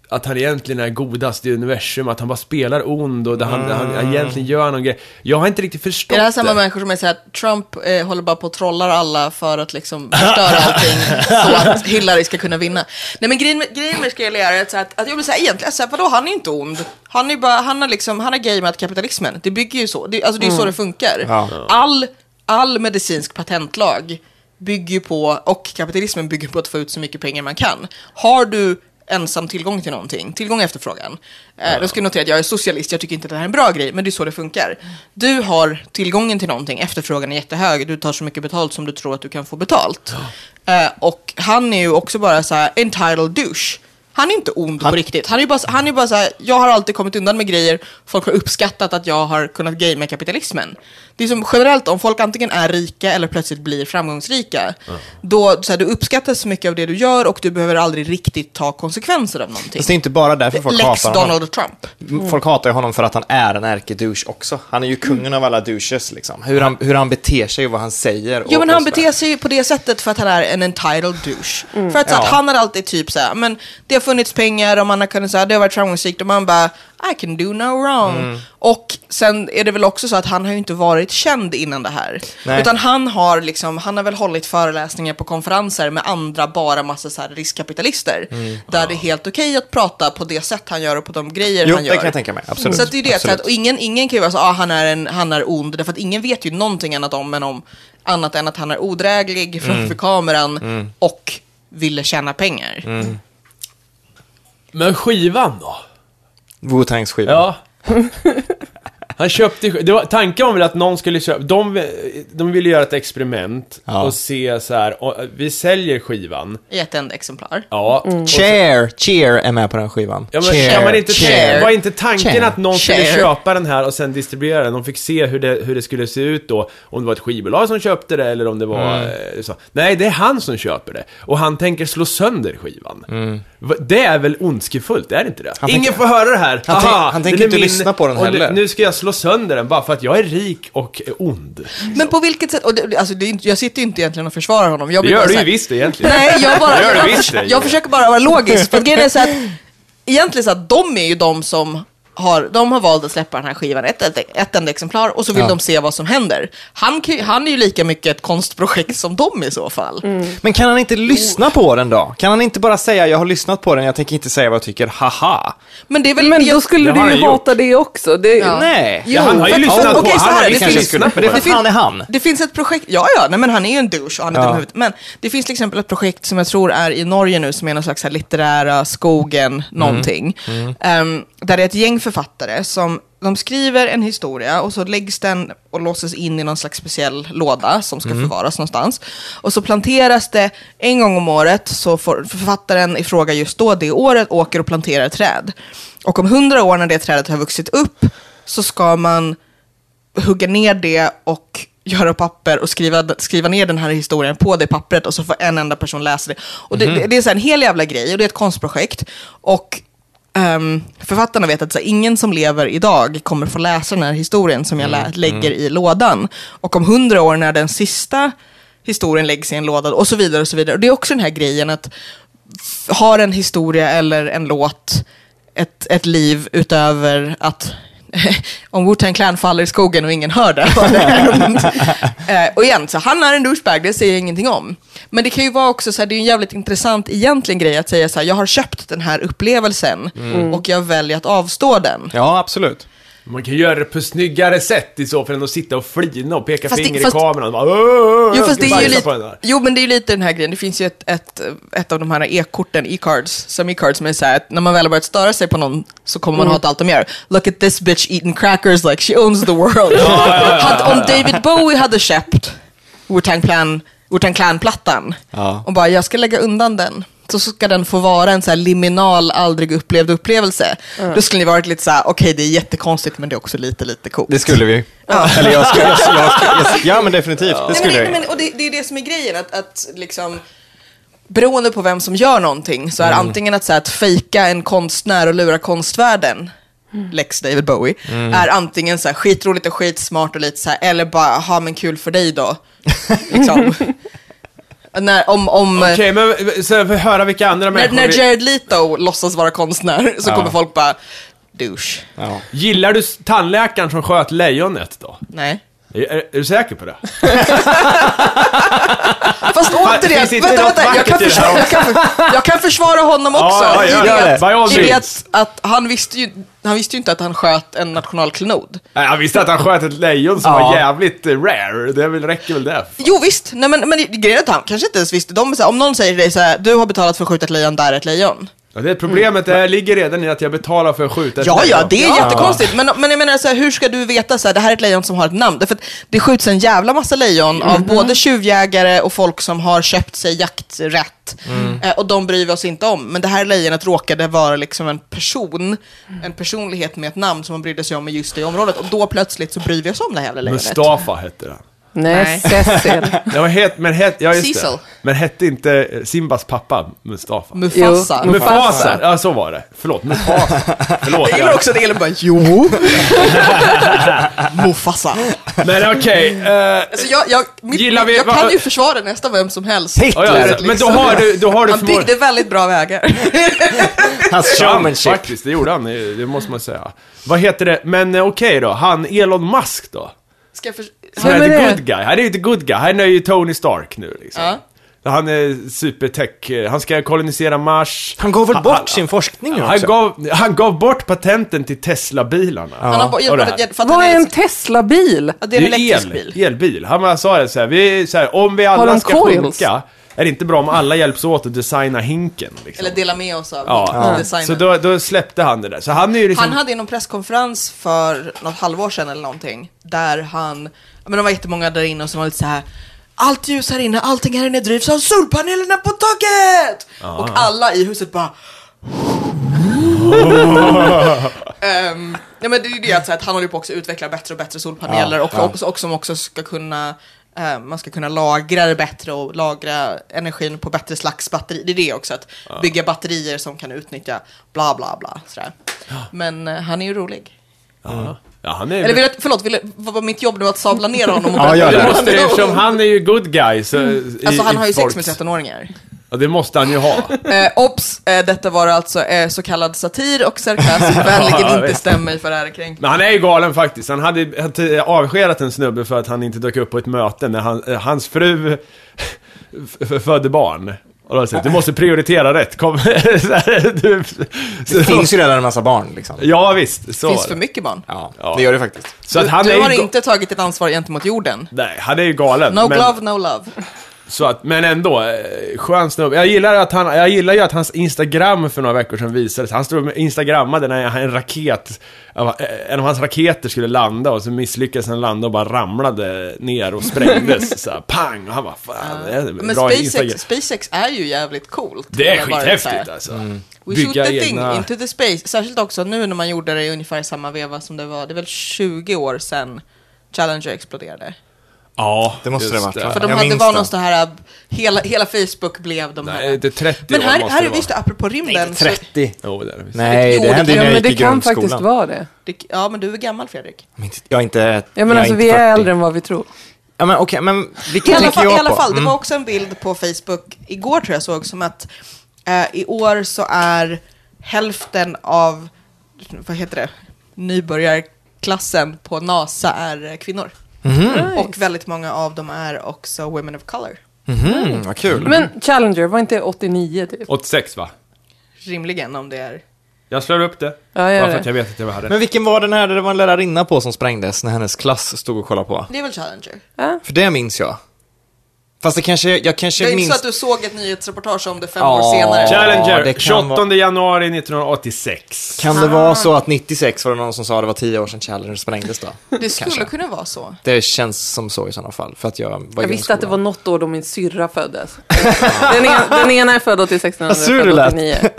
S4: Att han egentligen är godast i universum, att han bara spelar ond och det han, han, han egentligen gör någon grej. Jag har inte riktigt förstått
S5: Är det här samma människor som är såhär, Trump eh, håller bara på och trollar alla för att liksom förstöra allting så att Hillary ska kunna vinna? Nej men grejen med, grejen med Skrelly är att, så att, att jag blir såhär, egentligen, så här, vadå han är ju inte ond. Han är ju bara, han har liksom, han har gameat kapitalismen. Det bygger ju så, det, alltså det är ju så det funkar.
S3: Ja.
S5: All, all medicinsk patentlag bygger ju på, och kapitalismen bygger på att få ut så mycket pengar man kan. Har du ensam tillgång till någonting, tillgång och efterfrågan. Eh, då ska jag notera att jag är socialist, jag tycker inte att det här är en bra grej, men det är så det funkar. Du har tillgången till någonting, efterfrågan är jättehög, du tar så mycket betalt som du tror att du kan få betalt. Eh, och han är ju också bara så här entitled douche. Han är inte ond på riktigt. Han är ju bara, han är bara så här, jag har alltid kommit undan med grejer, folk har uppskattat att jag har kunnat gamea kapitalismen. Det är som generellt, om folk antingen är rika eller plötsligt blir framgångsrika, då så här, du uppskattar så mycket av det du gör och du behöver aldrig riktigt ta konsekvenser av någonting.
S3: fast det är inte bara därför folk
S5: Lex
S3: hatar honom. Mm.
S5: Donald Trump.
S3: Folk hatar ju honom för att han är en ärkedouche också. Han är ju kungen av alla douches liksom. Hur han, hur han beter sig och vad han säger.
S5: Jo
S3: och-
S5: men
S3: och
S5: han
S3: sådär.
S5: beter sig ju på det sättet för att han är en entitled douche. För att, så
S3: Ja.
S5: att han har alltid typ såhär, men det har funnits pengar och man har kunnat säga det har varit framgångsrikt och man bara I can do no wrong.
S3: Mm.
S5: Och sen är det väl också så att han har ju inte varit känd innan det här.
S3: Nej.
S5: Utan han har liksom, han har väl hållit föreläsningar på konferenser med andra bara massa så här riskkapitalister.
S3: Mm.
S5: Där det är helt okej att prata på det sätt han gör och på de grejer
S3: Jo,
S5: han
S3: det
S5: gör.
S3: kan jag tänka mig. Absolut.
S5: Så att det är ju det, så
S3: Absolut.
S5: att, och ingen, ingen kan ju vara så, ah, han är, en, han är ond, därför att ingen vet ju någonting annat om, än om annat än att han är odräglig framför
S3: Mm.
S5: kameran och ville tjäna pengar.
S3: Mm.
S4: Men skivan då?
S3: Wu-Tangs skiva.
S4: Ja. Han köpte det var, Tanken var väl att någon skulle köpa... De, de ville göra ett experiment
S3: Ja.
S4: och se så här. Och, vi säljer skivan.
S5: I ett enda exemplar.
S4: Ja. Och så-
S3: Cheer, Cheer är med på den skivan.
S4: Ja, men, kan man inte
S5: Share.
S4: Var inte tanken
S3: Share.
S4: att någon skulle
S5: Share.
S4: köpa den här och sen distribuera den? De fick se hur det, hur det skulle se ut då, om det var ett skivbolag som köpte det eller om det var...
S3: Mm.
S4: eh, Så. Nej, det är han som köper det. Och han tänker slå sönder skivan. Va- Det är väl ondskefullt, är det inte det? Ingen
S3: Mm. tänker-
S4: får höra det här.
S3: Han tänk- han
S4: den
S3: tänker
S4: är
S3: inte lyssna på den
S4: och nu-
S3: heller.
S4: Nu ska jag slå slå sönder den bara för att jag är rik och är ond.
S5: Men på vilket sätt, och det, alltså, det är inte, jag sitter ju inte egentligen och försvarar honom. Jag
S4: Det
S5: blir bara
S4: gör
S5: så
S4: du ju
S5: här-
S4: visst egentligen.
S5: Nej, jag bara...
S4: Det gör du
S5: jag,
S4: visst,
S5: förs-
S4: det gör
S5: jag
S4: du.
S5: försöker bara vara logisk. För att grejen är så att, egentligen så att de är ju de som har, de har valt att släppa den här skivan, ett, ett, ett enda exemplar, och så vill
S3: Ja.
S5: de se vad som händer. Han, kan ju- han är ju lika mycket ett konstprojekt som de i så fall.
S6: Mm.
S3: Men kan han inte
S4: Oh.
S3: lyssna på den då? Kan han inte bara säga jag har lyssnat på den, jag tänker inte säga vad jag tycker, haha?
S5: Men det är väl...
S6: Men
S5: jag-
S6: då skulle
S4: Det har
S6: du
S4: han
S6: ju
S4: gjort.
S6: hata det också. Det,
S5: Ja.
S3: Nej.
S4: Ja, han har ju
S5: för-
S4: lyssnat på-
S5: okej, så
S4: han har
S5: här,
S4: ju
S5: det
S4: kanske
S5: finns-
S4: lyssnat på det.
S3: Vad fan är han?
S5: Det finns ett projekt, ja ja, nej men han är ju en douche och han är
S3: Ja.
S5: dum i huvudet. Men det finns till exempel ett projekt som jag tror är i Norge nu som är någon slags här litterära skogen någonting. Ehm, där det är ett gäng författare som de skriver en historia och så läggs den och låses in i någon slags speciell låda som ska förvaras någonstans. Och så planteras det en gång om året så får författaren i fråga just då det året åker och planterar träd. Och om hundra år när det trädet har vuxit upp så ska man hugga ner det och göra papper och skriva, skriva ner den här historien på det pappret och så får en enda person läsa det. Och det, det, det är så här en hel jävla grej och det är ett konstprojekt. Och ehm, författarna vet att så här, ingen som lever idag kommer få läsa den här historien som jag lä- lägger i lådan. Och om hundra år när den sista historien läggs i en låda och så vidare och så vidare. Och det är också den här grejen att f- har en historia eller en låt ett, ett liv utöver att <laughs> om Wu-Tang Clan faller i skogen och ingen hör det. <laughs> vad det hänt. Eh, och igen, så han är en douchebag, det säger jag ingenting om. Men det kan ju vara också så här, det är ju en jävligt intressant egentligen grej att säga så här, jag har köpt den här upplevelsen och jag väljer att avstå den.
S3: Ja, absolut.
S4: Man kan göra det på snyggare sätt i så fall än att sitta och flina och peka
S5: Fast det-
S4: finger
S5: fast-
S4: i kameran och bara, "Åh,
S5: Jo,
S4: jag
S5: fast
S4: ska
S5: det är ju
S4: bajsa på den
S5: lite,
S4: här."
S5: jo, men det är ju lite den här grejen. Det finns ju ett, ett, ett av de här e-korten, e-cards, som e-cards, som är så här att när man väl har börjat störa sig på någon så kommer
S4: Mm.
S5: man hata allt de gör. Look at this bitch eating crackers like she owns the world. Hade- Om David Bowie hade köpt Wu-Tang Clan- Wu-Tang Clan-plattan
S3: Ja.
S5: och bara jag ska lägga undan den. Så ska den få vara en så här liminal, aldrig upplevd upplevelse. Då skulle ni varit lite så här, okej det är jättekonstigt men det är också lite, lite coolt.
S3: Det skulle vi. Eller jag skulle, jag, skulle- jag, skulle- ja men definitivt, det skulle
S5: Nej,
S3: jag.
S5: men, nej, men, och det, det är det som är grejen, att, att liksom, beroende på vem som gör någonting så är
S4: Mm.
S5: antingen att, så här, att fejka en konstnär och lura konstvärlden, Lex David Bowie,
S4: Mm.
S5: är antingen så här, skitroligt och skitsmart och lite så här, eller bara, ha men kul för dig då.
S4: <laughs>
S5: liksom. när, om, om, eh,
S4: Okej, men så jag får höra vilka andra
S5: när,
S4: människor...
S5: när
S4: vi-
S5: Jared Leto låtsas vara konstnär så
S3: Ja.
S5: kommer folk bara, douche.
S3: Ja.
S4: Gillar du s- tandläkaren som sköt lejonet då?
S5: Nej.
S4: Är, är, är du säker på det?
S5: <laughs> Fast återigen,
S4: Ah, finns inte
S5: vänta,
S4: något
S5: vänta, jag
S4: vackert
S5: kan,
S4: i det här
S5: försvara, jag, kan, för- jag kan försvara honom också.
S4: ja,
S5: i
S4: gör
S5: det
S4: det.
S5: att-
S4: By all
S5: i det
S4: means.
S5: att, att han, visste ju, han visste ju inte att han sköt en nationalklenod.
S4: Nej, jag visste att han sköt ett lejon som
S3: Ja.
S4: var jävligt eh, rare. Det är väl, räcker väl det?
S5: Jo visst, nej, men, men grejen är att han kanske inte ens visste. De, är så här, om någon säger till dig så här, du har betalat för att skjuta ett lejon, där är ett lejon.
S4: Ja, det är problemet det ligger redan i att jag betalar för att skjuta ett
S5: Mm. Ja,
S4: lejon.
S5: ja, det är jättekonstigt. Men, men jag menar, så här, hur ska du veta så här, det här är ett lejon som har ett namn? Därför att det skjuts en jävla massa lejon av både tjuvjägare och folk som har köpt sig jakträtt. Eh, och de bryr vi oss inte om. Men det här lejonet råkade vara liksom en person, en personlighet med ett namn som man brydde sig om i just det området. Och då plötsligt så bryr vi oss om det här jävla lejonet.
S4: Mustafa hette han.
S6: Nej, Cecil.
S5: <laughs>
S4: Det var het, men het, ja, just
S5: Cecil.
S4: det. Men hette inte eh, Simbas pappa Mustafa?
S5: Mufasa.
S6: Jo. Mufasa.
S4: Mufasa. Ja, så var det. Förlåt,
S5: <laughs>
S4: Mufasa. Förlåt.
S5: Jag gillar också att Elin bara, jo. Mufasa.
S4: Men okej. eh,
S5: <laughs> Alltså jag, jag, mitt,
S4: Gillar vi-
S5: jag
S4: va-
S5: kan ju försvara nästan vem som helst.
S3: Hitler.
S4: ja, ja,
S5: Liksom.
S4: men då har du, då har du
S5: Han
S4: förmodligen-
S5: byggde väldigt bra
S4: <laughs>
S5: vägar.
S3: Hans
S4: Ja,
S3: showmanship.
S4: Faktiskt, det gjorde han. Det det måste man säga. Vad heter det? Men eh, okej då, han Elon Musk då?
S5: Ska jag för...
S4: Han
S6: Vem
S4: är
S6: är
S4: the
S6: det?
S4: good guy. Han är ju the good guy. Han är ju Tony Stark nu liksom.
S5: Ja.
S4: Han är supertech. eh, Han ska kolonisera Mars.
S3: Han gav väl bort sin forskning nu
S4: Han
S3: också?
S4: gav, han gav bort patenten till Tesla-bilarna.
S5: Han har bara
S4: Och det
S5: jobbat
S4: här.
S5: ett jätte- för att han
S6: Vad är en
S5: liksom-
S6: Teslabil?
S5: Ja, Det är en elektrisk
S4: el,
S5: bil.
S4: elbil. Han bara sa det så här, vi, så här om vi
S6: Har
S4: alla
S6: de
S4: ska
S6: coils?
S4: sjunka, är det inte bra om alla hjälps åt att designa hinken? Liksom.
S5: Eller dela med oss av
S4: ja.
S5: designen.
S4: Så då, då släppte han det där. Så han är ju liksom...
S5: Han hade ju någon presskonferens för något halvår sedan eller någonting. Där han, ja, men det var jättemånga där inne och som var lite så här. Allt ljus här inne, allting här inne drivs av solpanelerna på taket! Och alla i huset bara... Ehm, ja, men det är ju det att, så här, att han håller på också att utveckla bättre och bättre solpaneler och, och, och som också ska kunna eh, man ska kunna lagra det bättre och lagra energin på bättre slags batteri. Det är det också, att bygga batterier som kan utnyttja bla bla bla. Sådär. Men eh, han är ju rolig.
S4: Ja. Ja, han är...
S5: Eller vill jag, förlåt, vill jag, vad var mitt jobb nu att sabla ner honom?
S4: <laughs>
S3: Ja, gör
S4: det
S3: det.
S4: måste det, eftersom han är ju good guy. Så, i,
S5: Alltså han
S4: i
S5: har ju sex
S4: folks-
S5: med 13-åringar.
S4: Ja, det måste han ju ha.
S5: Eh, obs, eh, detta var alltså eh, så kallad satir och sarkasm.
S4: <laughs> Ja,
S5: Vänligen inte
S4: visst.
S5: stäm mig för ärekränkning.
S4: Men han är ju galen faktiskt. Han hade hade avskedat en snubbe för att han inte dök upp på ett möte när han, eh, hans fru f- f- födde barn. Och då har jag sagt, du måste prioritera rätt. Kom, <laughs> så här, du,
S3: Det
S4: så,
S3: finns ju redan en massa barn liksom.
S4: ja visst, så
S5: Det finns
S4: var
S5: för
S4: det.
S5: mycket barn.
S3: Ja,
S4: Ja.
S3: det gör det faktiskt.
S4: Så att han
S5: du
S4: är ju
S5: har
S4: ga-
S5: inte tagit ett ansvar gentemot jorden.
S4: Nej, han är ju galen.
S5: No
S4: men,
S5: glove, no love.
S4: Så att, men ändå, eh, skön snubbe. Jag gillar, att han, jag gillar ju att hans Instagram för några veckor sedan visades. Han stod och instagrammade när han- en raket, eh, en av hans raketer skulle landa och så misslyckades den landa och bara ramlade ner och
S5: <laughs>
S4: sprängdes. så här, pang! Och han bara, fan, det är
S5: Men
S4: bra Instagram.
S5: SpaceX, SpaceX är ju jävligt coolt.
S4: Det är
S5: Eller bara
S4: skithäftigt
S5: så här, Mm.
S4: alltså.
S5: We shoot the thing into the space. Särskilt också nu när man gjorde det i ungefär samma veva som det var. Det är väl 20 år sedan Challenger exploderade.
S4: Ja,
S3: Det måste
S4: just
S3: det ha varit, va?
S5: För de
S3: Jag
S5: hade
S3: minns
S5: var
S3: det.
S5: någon sån här, äh, hela, hela Facebook blev de här.
S4: Nej, det är 30
S5: Men
S4: år
S5: här,
S4: måste
S5: här
S4: det
S5: är
S4: vara.
S5: visst apropå rymden. så-
S3: 30.
S4: Jo, det är det visst.
S3: Nej,
S5: Jo,
S3: det
S5: det
S3: hände ju
S5: kan-
S3: när
S6: Ja,
S3: jag
S6: men
S3: gick i
S6: det kan faktiskt
S3: grundskolan.
S6: vara det.
S5: det- Ja, men du är gammal Fredrik.
S3: Men inte- Jag är inte...
S6: Ja,
S3: jag
S6: men alltså
S3: inte
S6: vi
S3: 40.
S6: är äldre än vad vi tror.
S3: Ja, men okej, men
S5: I
S3: vilket
S5: alla,
S3: tänker
S5: fall, I
S3: jag
S5: alla
S3: på?
S5: fall, det
S3: Mm.
S5: var också en bild på Facebook igår tror jag såg som att eh, i år så är hälften av, vad heter det, nybörjarklassen på NASA är eh, kvinnor.
S3: Mhm.
S5: Och väldigt många av dem är också women of color.
S3: Mm, vad kul.
S6: Men Challenger, var inte 89 typ?
S4: 86 va?
S5: Rimligen om det är...
S4: Jag slår upp det.
S6: Ja, gör
S4: bara för
S6: det.
S4: att jag vet att jag hade
S3: Men vilken var den här där det var en lärarinna på som sprängdes när hennes klass stod och kollade på?
S5: Det är väl Challenger?
S3: För det minns jag. Fast det kanske, jag kanske
S5: Det är
S3: minns...
S5: inte så att du såg ett nyhetsreportage om det fem
S3: Typ Ja.
S5: år senare.
S3: Ja,
S4: Challenger,
S3: det kan
S4: 28 januari 1986.
S3: Kan det vara så att 96 var det någon som sa det var 10 år sedan Challenger sprängdes då?
S5: Det skulle
S3: Kanske.
S5: kunna vara så.
S3: Det känns som så i sådana fall, för att jag var i
S6: Jag visste att det var
S3: grundskolan.
S6: något år då min
S3: <laughs>
S6: syrra föddes. Den, ena- den ena är född 86, den andra
S3: sur
S6: är
S3: du
S6: född
S3: lät. Mm.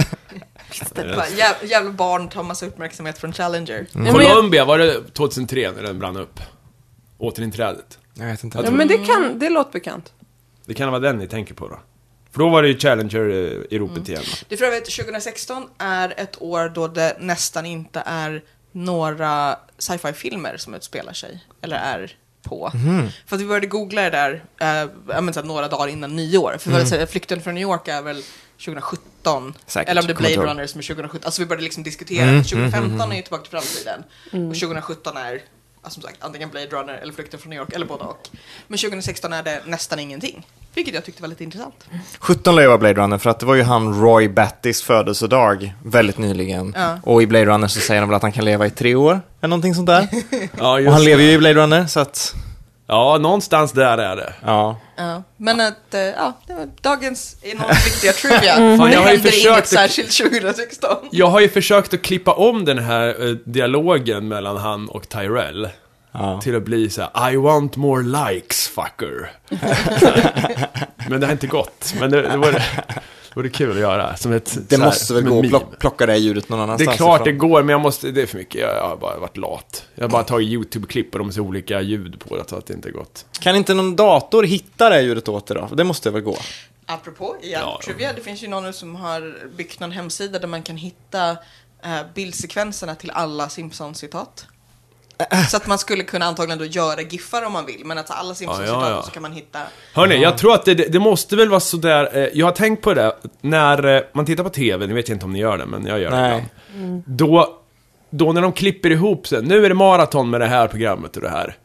S6: 89.
S5: Bara, jäv- Jävla barn tar massa uppmärksamhet från Challenger.
S3: Mm.
S6: Ja, men, jag,
S4: Mm. Colombia, var det 2003 när den brann upp? Återinträdet.
S3: Jag vet inte.
S6: ja, men det, kan, det låter bekant.
S4: Det kan vara den ni tänker på då. För då var det ju Challenger eh, i ropet igen.
S5: Det är för övrigt 2016 är ett år då det nästan inte är några sci-fi filmer som utspelar sig eller är på.
S3: Mhm.
S5: För att vi började googla det där eh, ja, men så här, några dagar innan nyår. För mm. så här, flykten från New York är väl 2017.
S3: Säkert,
S5: eller om det är
S3: kommer inte
S5: Blade
S3: ihåg. Mm,
S5: Runner som är 2017. Alltså vi började liksom diskutera. 2015 är ju tillbaka till framtiden. Och 2017 är alltså, som sagt antingen Blade Runner eller flykten från New York eller både och. Men 2016 är det nästan ingenting. Vilket jag tyckte var lite intressant.
S3: 17 lär jag vara Blade Runner, för att det var ju han Roy Battys födelsedag väldigt nyligen.
S5: Ja.
S3: Och i Blade Runner så säger de väl att han kan leva i tre år, eller någonting sånt
S5: <laughs>
S3: där.
S4: Ja,
S3: Och han lever ju i Blade Runner, så att,
S4: Ja, någonstans där är det.
S3: ja.
S5: Ja, men att, eh, ja, det var dagens <laughs> enormt viktiga trivia.
S3: Mm.
S4: Fan,
S5: Det
S4: jag har ju
S5: händer
S4: försökt
S5: inget
S4: att-
S5: särskilt 2016.
S4: Jag har ju försökt att klippa om den här eh, dialogen mellan han och Tyrell.
S3: Ja.
S4: Till att bli så här: I want more likes
S3: <laughs>
S4: fucker. men det har inte gått. Men det, det vore, det vore kul att göra. Som ett,
S3: Det
S4: så här,
S3: måste väl
S4: som
S3: gå
S4: ett
S3: att
S4: meme.
S3: plock, plocka det här ljudet någon
S4: Det
S3: annanstans
S4: är klart det
S3: ifrån.
S4: går, men jag måste, det är för mycket. Jag, jag har bara varit lat. Jag har bara tagit YouTube-klipp och de ser olika ljud på det, så att det inte är gott.
S3: Kan inte någon dator hitta det här ljudet åt dig då? Det måste väl gå?
S5: Apropå igen,
S4: Ja.
S5: trivia, det finns ju någon nu som har byggt någon hemsida där man kan hitta eh, bildsekvenserna till alla Simpsons-citat.
S3: Äh.
S5: Så att man skulle kunna antagligen då göra giffar om man vill, men att alla Simpsons-citat
S4: Ja, ja, ja.
S5: så kan man hitta.
S4: Hörni, jag tror att det, det måste väl vara sådär, eh, jag har tänkt på det, där, när eh, man tittar på TV, nu vet jag inte om ni gör det, men jag gör det
S3: Nej.
S4: ibland. Då, då när de klipper ihop sig, nu är det maraton med det här programmet och det här.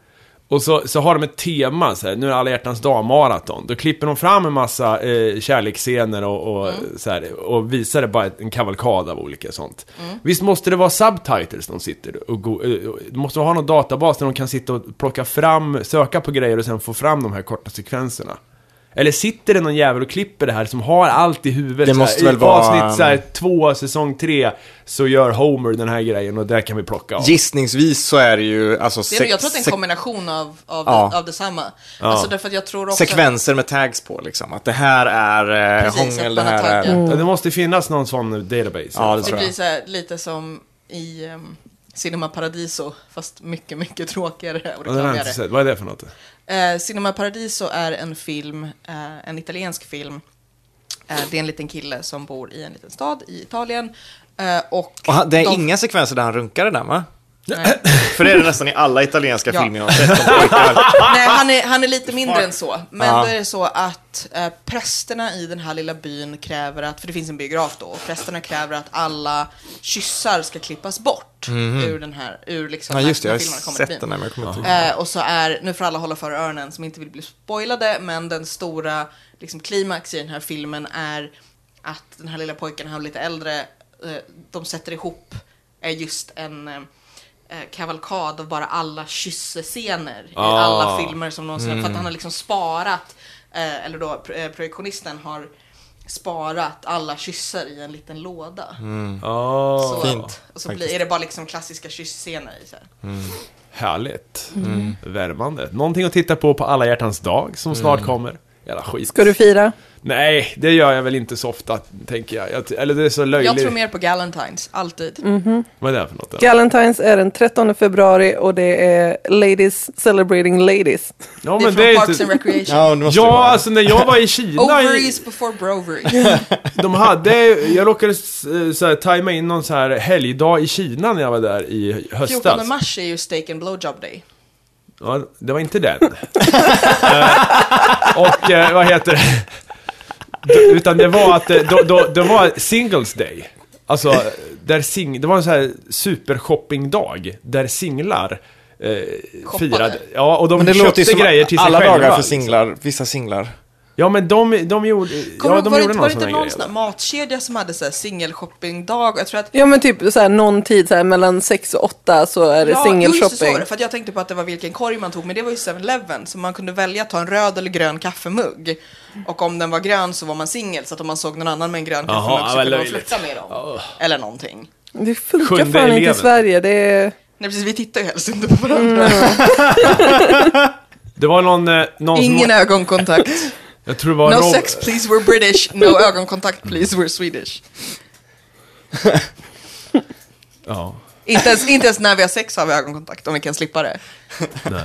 S4: Och så, så har de ett tema, så här, nu är det alla hjärtans dag-maraton. Då klipper de fram en massa eh, kärleksscener och, och, så här, och visar det bara en kavalkad av olika sånt. Visst måste det vara subtitles de sitter och, go, eh, och de måste ha någon databas där de kan sitta och plocka fram, söka på grejer och sen få fram de här korta sekvenserna. Eller sitter det någon jävel och klipper det här som har allt i huvudet?
S3: Det
S4: så
S3: måste
S4: här,
S3: väl
S4: I
S3: vara-
S4: avsnitt så här, två, säsong tre, så gör Homer den här grejen och där kan vi plocka av.
S3: Gissningsvis så är det ju alltså
S5: Det är, nog-
S3: sek-
S5: jag tror att det är en
S3: sek-
S5: kombination av, av,
S3: Ja.
S5: av detsamma. Alltså därför att jag tror också...
S3: sekvenser med tags på liksom. Att det här är eh,
S5: Precis, att
S3: hångel, det
S5: man har
S3: här är...
S5: taggat.
S4: Ja, Det måste finnas någon sån database.
S3: Ja, det
S5: Det
S3: tror
S5: blir
S3: jag.
S5: så här, lite som i um, Cinema Paradiso, fast mycket, mycket <laughs> tråkigare och
S4: Ja, den har jag inte
S5: reklamigare.
S4: sett. Vad är det för
S3: Mm.
S4: något?
S5: Eh, Cinema Paradiso är en film, eh, en italiensk film. Eh, det är en liten kille som bor i en liten stad i Italien. Eh, och
S3: Och han, det är
S5: de-
S3: inga sekvenser där han runkar i den va? För det är det nästan i alla italienska
S5: Ja.
S3: filmer jag har sett
S5: <laughs>
S3: om pojkar.
S5: Nej, han är, han är lite mindre än så. Men
S3: Ja.
S5: då är det så att eh, prästerna i den här lilla byn kräver att, för det finns en biograf då, och prästerna kräver att alla kyssar ska klippas bort ur den här, ur liksom
S3: Mhm. Ja, just det.
S5: när
S3: Jag har
S5: filmerna kommer till
S3: sett
S5: byn.
S3: den här, men jag kommer inte ihåg.
S5: Eh, och så är, nu får alla hålla för öronen som inte vill bli spoilade, men den stora liksom, klimax i den här filmen är att den här lilla pojken, han är lite äldre, eh, de sätter ihop eh, just en eh, eh, kavalkad av bara alla kyssescener i alla filmer som någonsin, för att han har liksom sparat, eh, eller då pr- eh, projektionisten har sparat alla kysser i en liten låda.
S4: Åh,
S5: så,
S3: fint,
S5: och så blir, är det bara liksom klassiska kyssscener i. Så här.
S4: Härligt.
S3: Mm.
S4: Värmande. Någonting att titta på på alla hjärtans dag som snart kommer. Jävla skit.
S6: Ska du fira?
S4: Nej, det gör jag väl inte så ofta, tänker jag. jag t- eller det är så löjligt.
S5: Jag tror mer på Galentines, alltid.
S4: Vad är det för något? då?
S6: Galentines är den 13 februari och det är Ladies celebrating ladies.
S4: Ja,
S5: det är
S4: men
S5: från
S4: det är
S5: Parks and
S4: inte...
S5: Recreation.
S3: Ja, det måste det
S4: Ja,
S3: vara.
S4: alltså när jag var i
S5: <laughs>
S4: Kina, i-
S5: Ovaries before
S4: <laughs>
S5: broveries.
S4: de hade, jag råkade s- så här, tajma in någon så här helgdag i Kina när jag var där i höstas.
S5: 14 mars är ju steak and blowjob day.
S4: Ja, det var inte den. <laughs> Eh, och eh, vad heter det? D- Utan det var att eh, då, då, det var singles day. Alltså, där sing, det var en sån här supershoppingdag där singlar eh,
S5: Shoppade.
S4: firade. Ja, och de
S3: Men det
S4: köpte
S3: låter ju som
S4: grejer till sig
S3: alla
S4: själva.
S3: dagar för
S4: liksom.
S3: singlar, vissa singlar.
S4: Ja, men de, de gjorde,
S5: Kommer
S4: ja,
S5: du-
S4: de
S5: var det
S4: gjorde
S5: inte, var
S4: någon sån
S5: det inte
S4: här grej.
S5: någon
S4: alltså.
S5: sån där matkedja som hade så här singelshoppingdag? Jag tror att...
S6: Ja men typ så här, någon tid så här, mellan 6 och 8 så är
S5: jo,
S6: det
S5: just det, så var
S6: singelshopping.
S5: det, För att jag tänkte på att det var vilken korg man tog, men det var ju 7-Eleven. Så man kunde välja att ta en röd eller grön kaffemugg. Och om den var grön så var man singel, så att om man såg någon annan med en grön
S4: Jaha,
S5: kaffemugg så
S4: vad
S5: kunde man
S4: löjligt.
S5: flytta med dem. Eller någonting.
S6: Det funkar
S4: Sjunde
S6: fan inte i
S4: eleven.
S6: Sverige. Det är...
S5: Nej precis, vi tittar ju helst inte
S4: <laughs>
S5: på varandra.
S4: Mm. Det var någon, eh, någon som,
S5: Ingen ögonkontakt.
S4: jag tror det var
S5: No
S4: Rob-
S5: sex please, we're British. No ögonkontakt please, we're Swedish.
S4: Ja.
S5: Inte ens, inte ens när vi har sex har vi ögonkontakt, om vi kan slippa det. <laughs>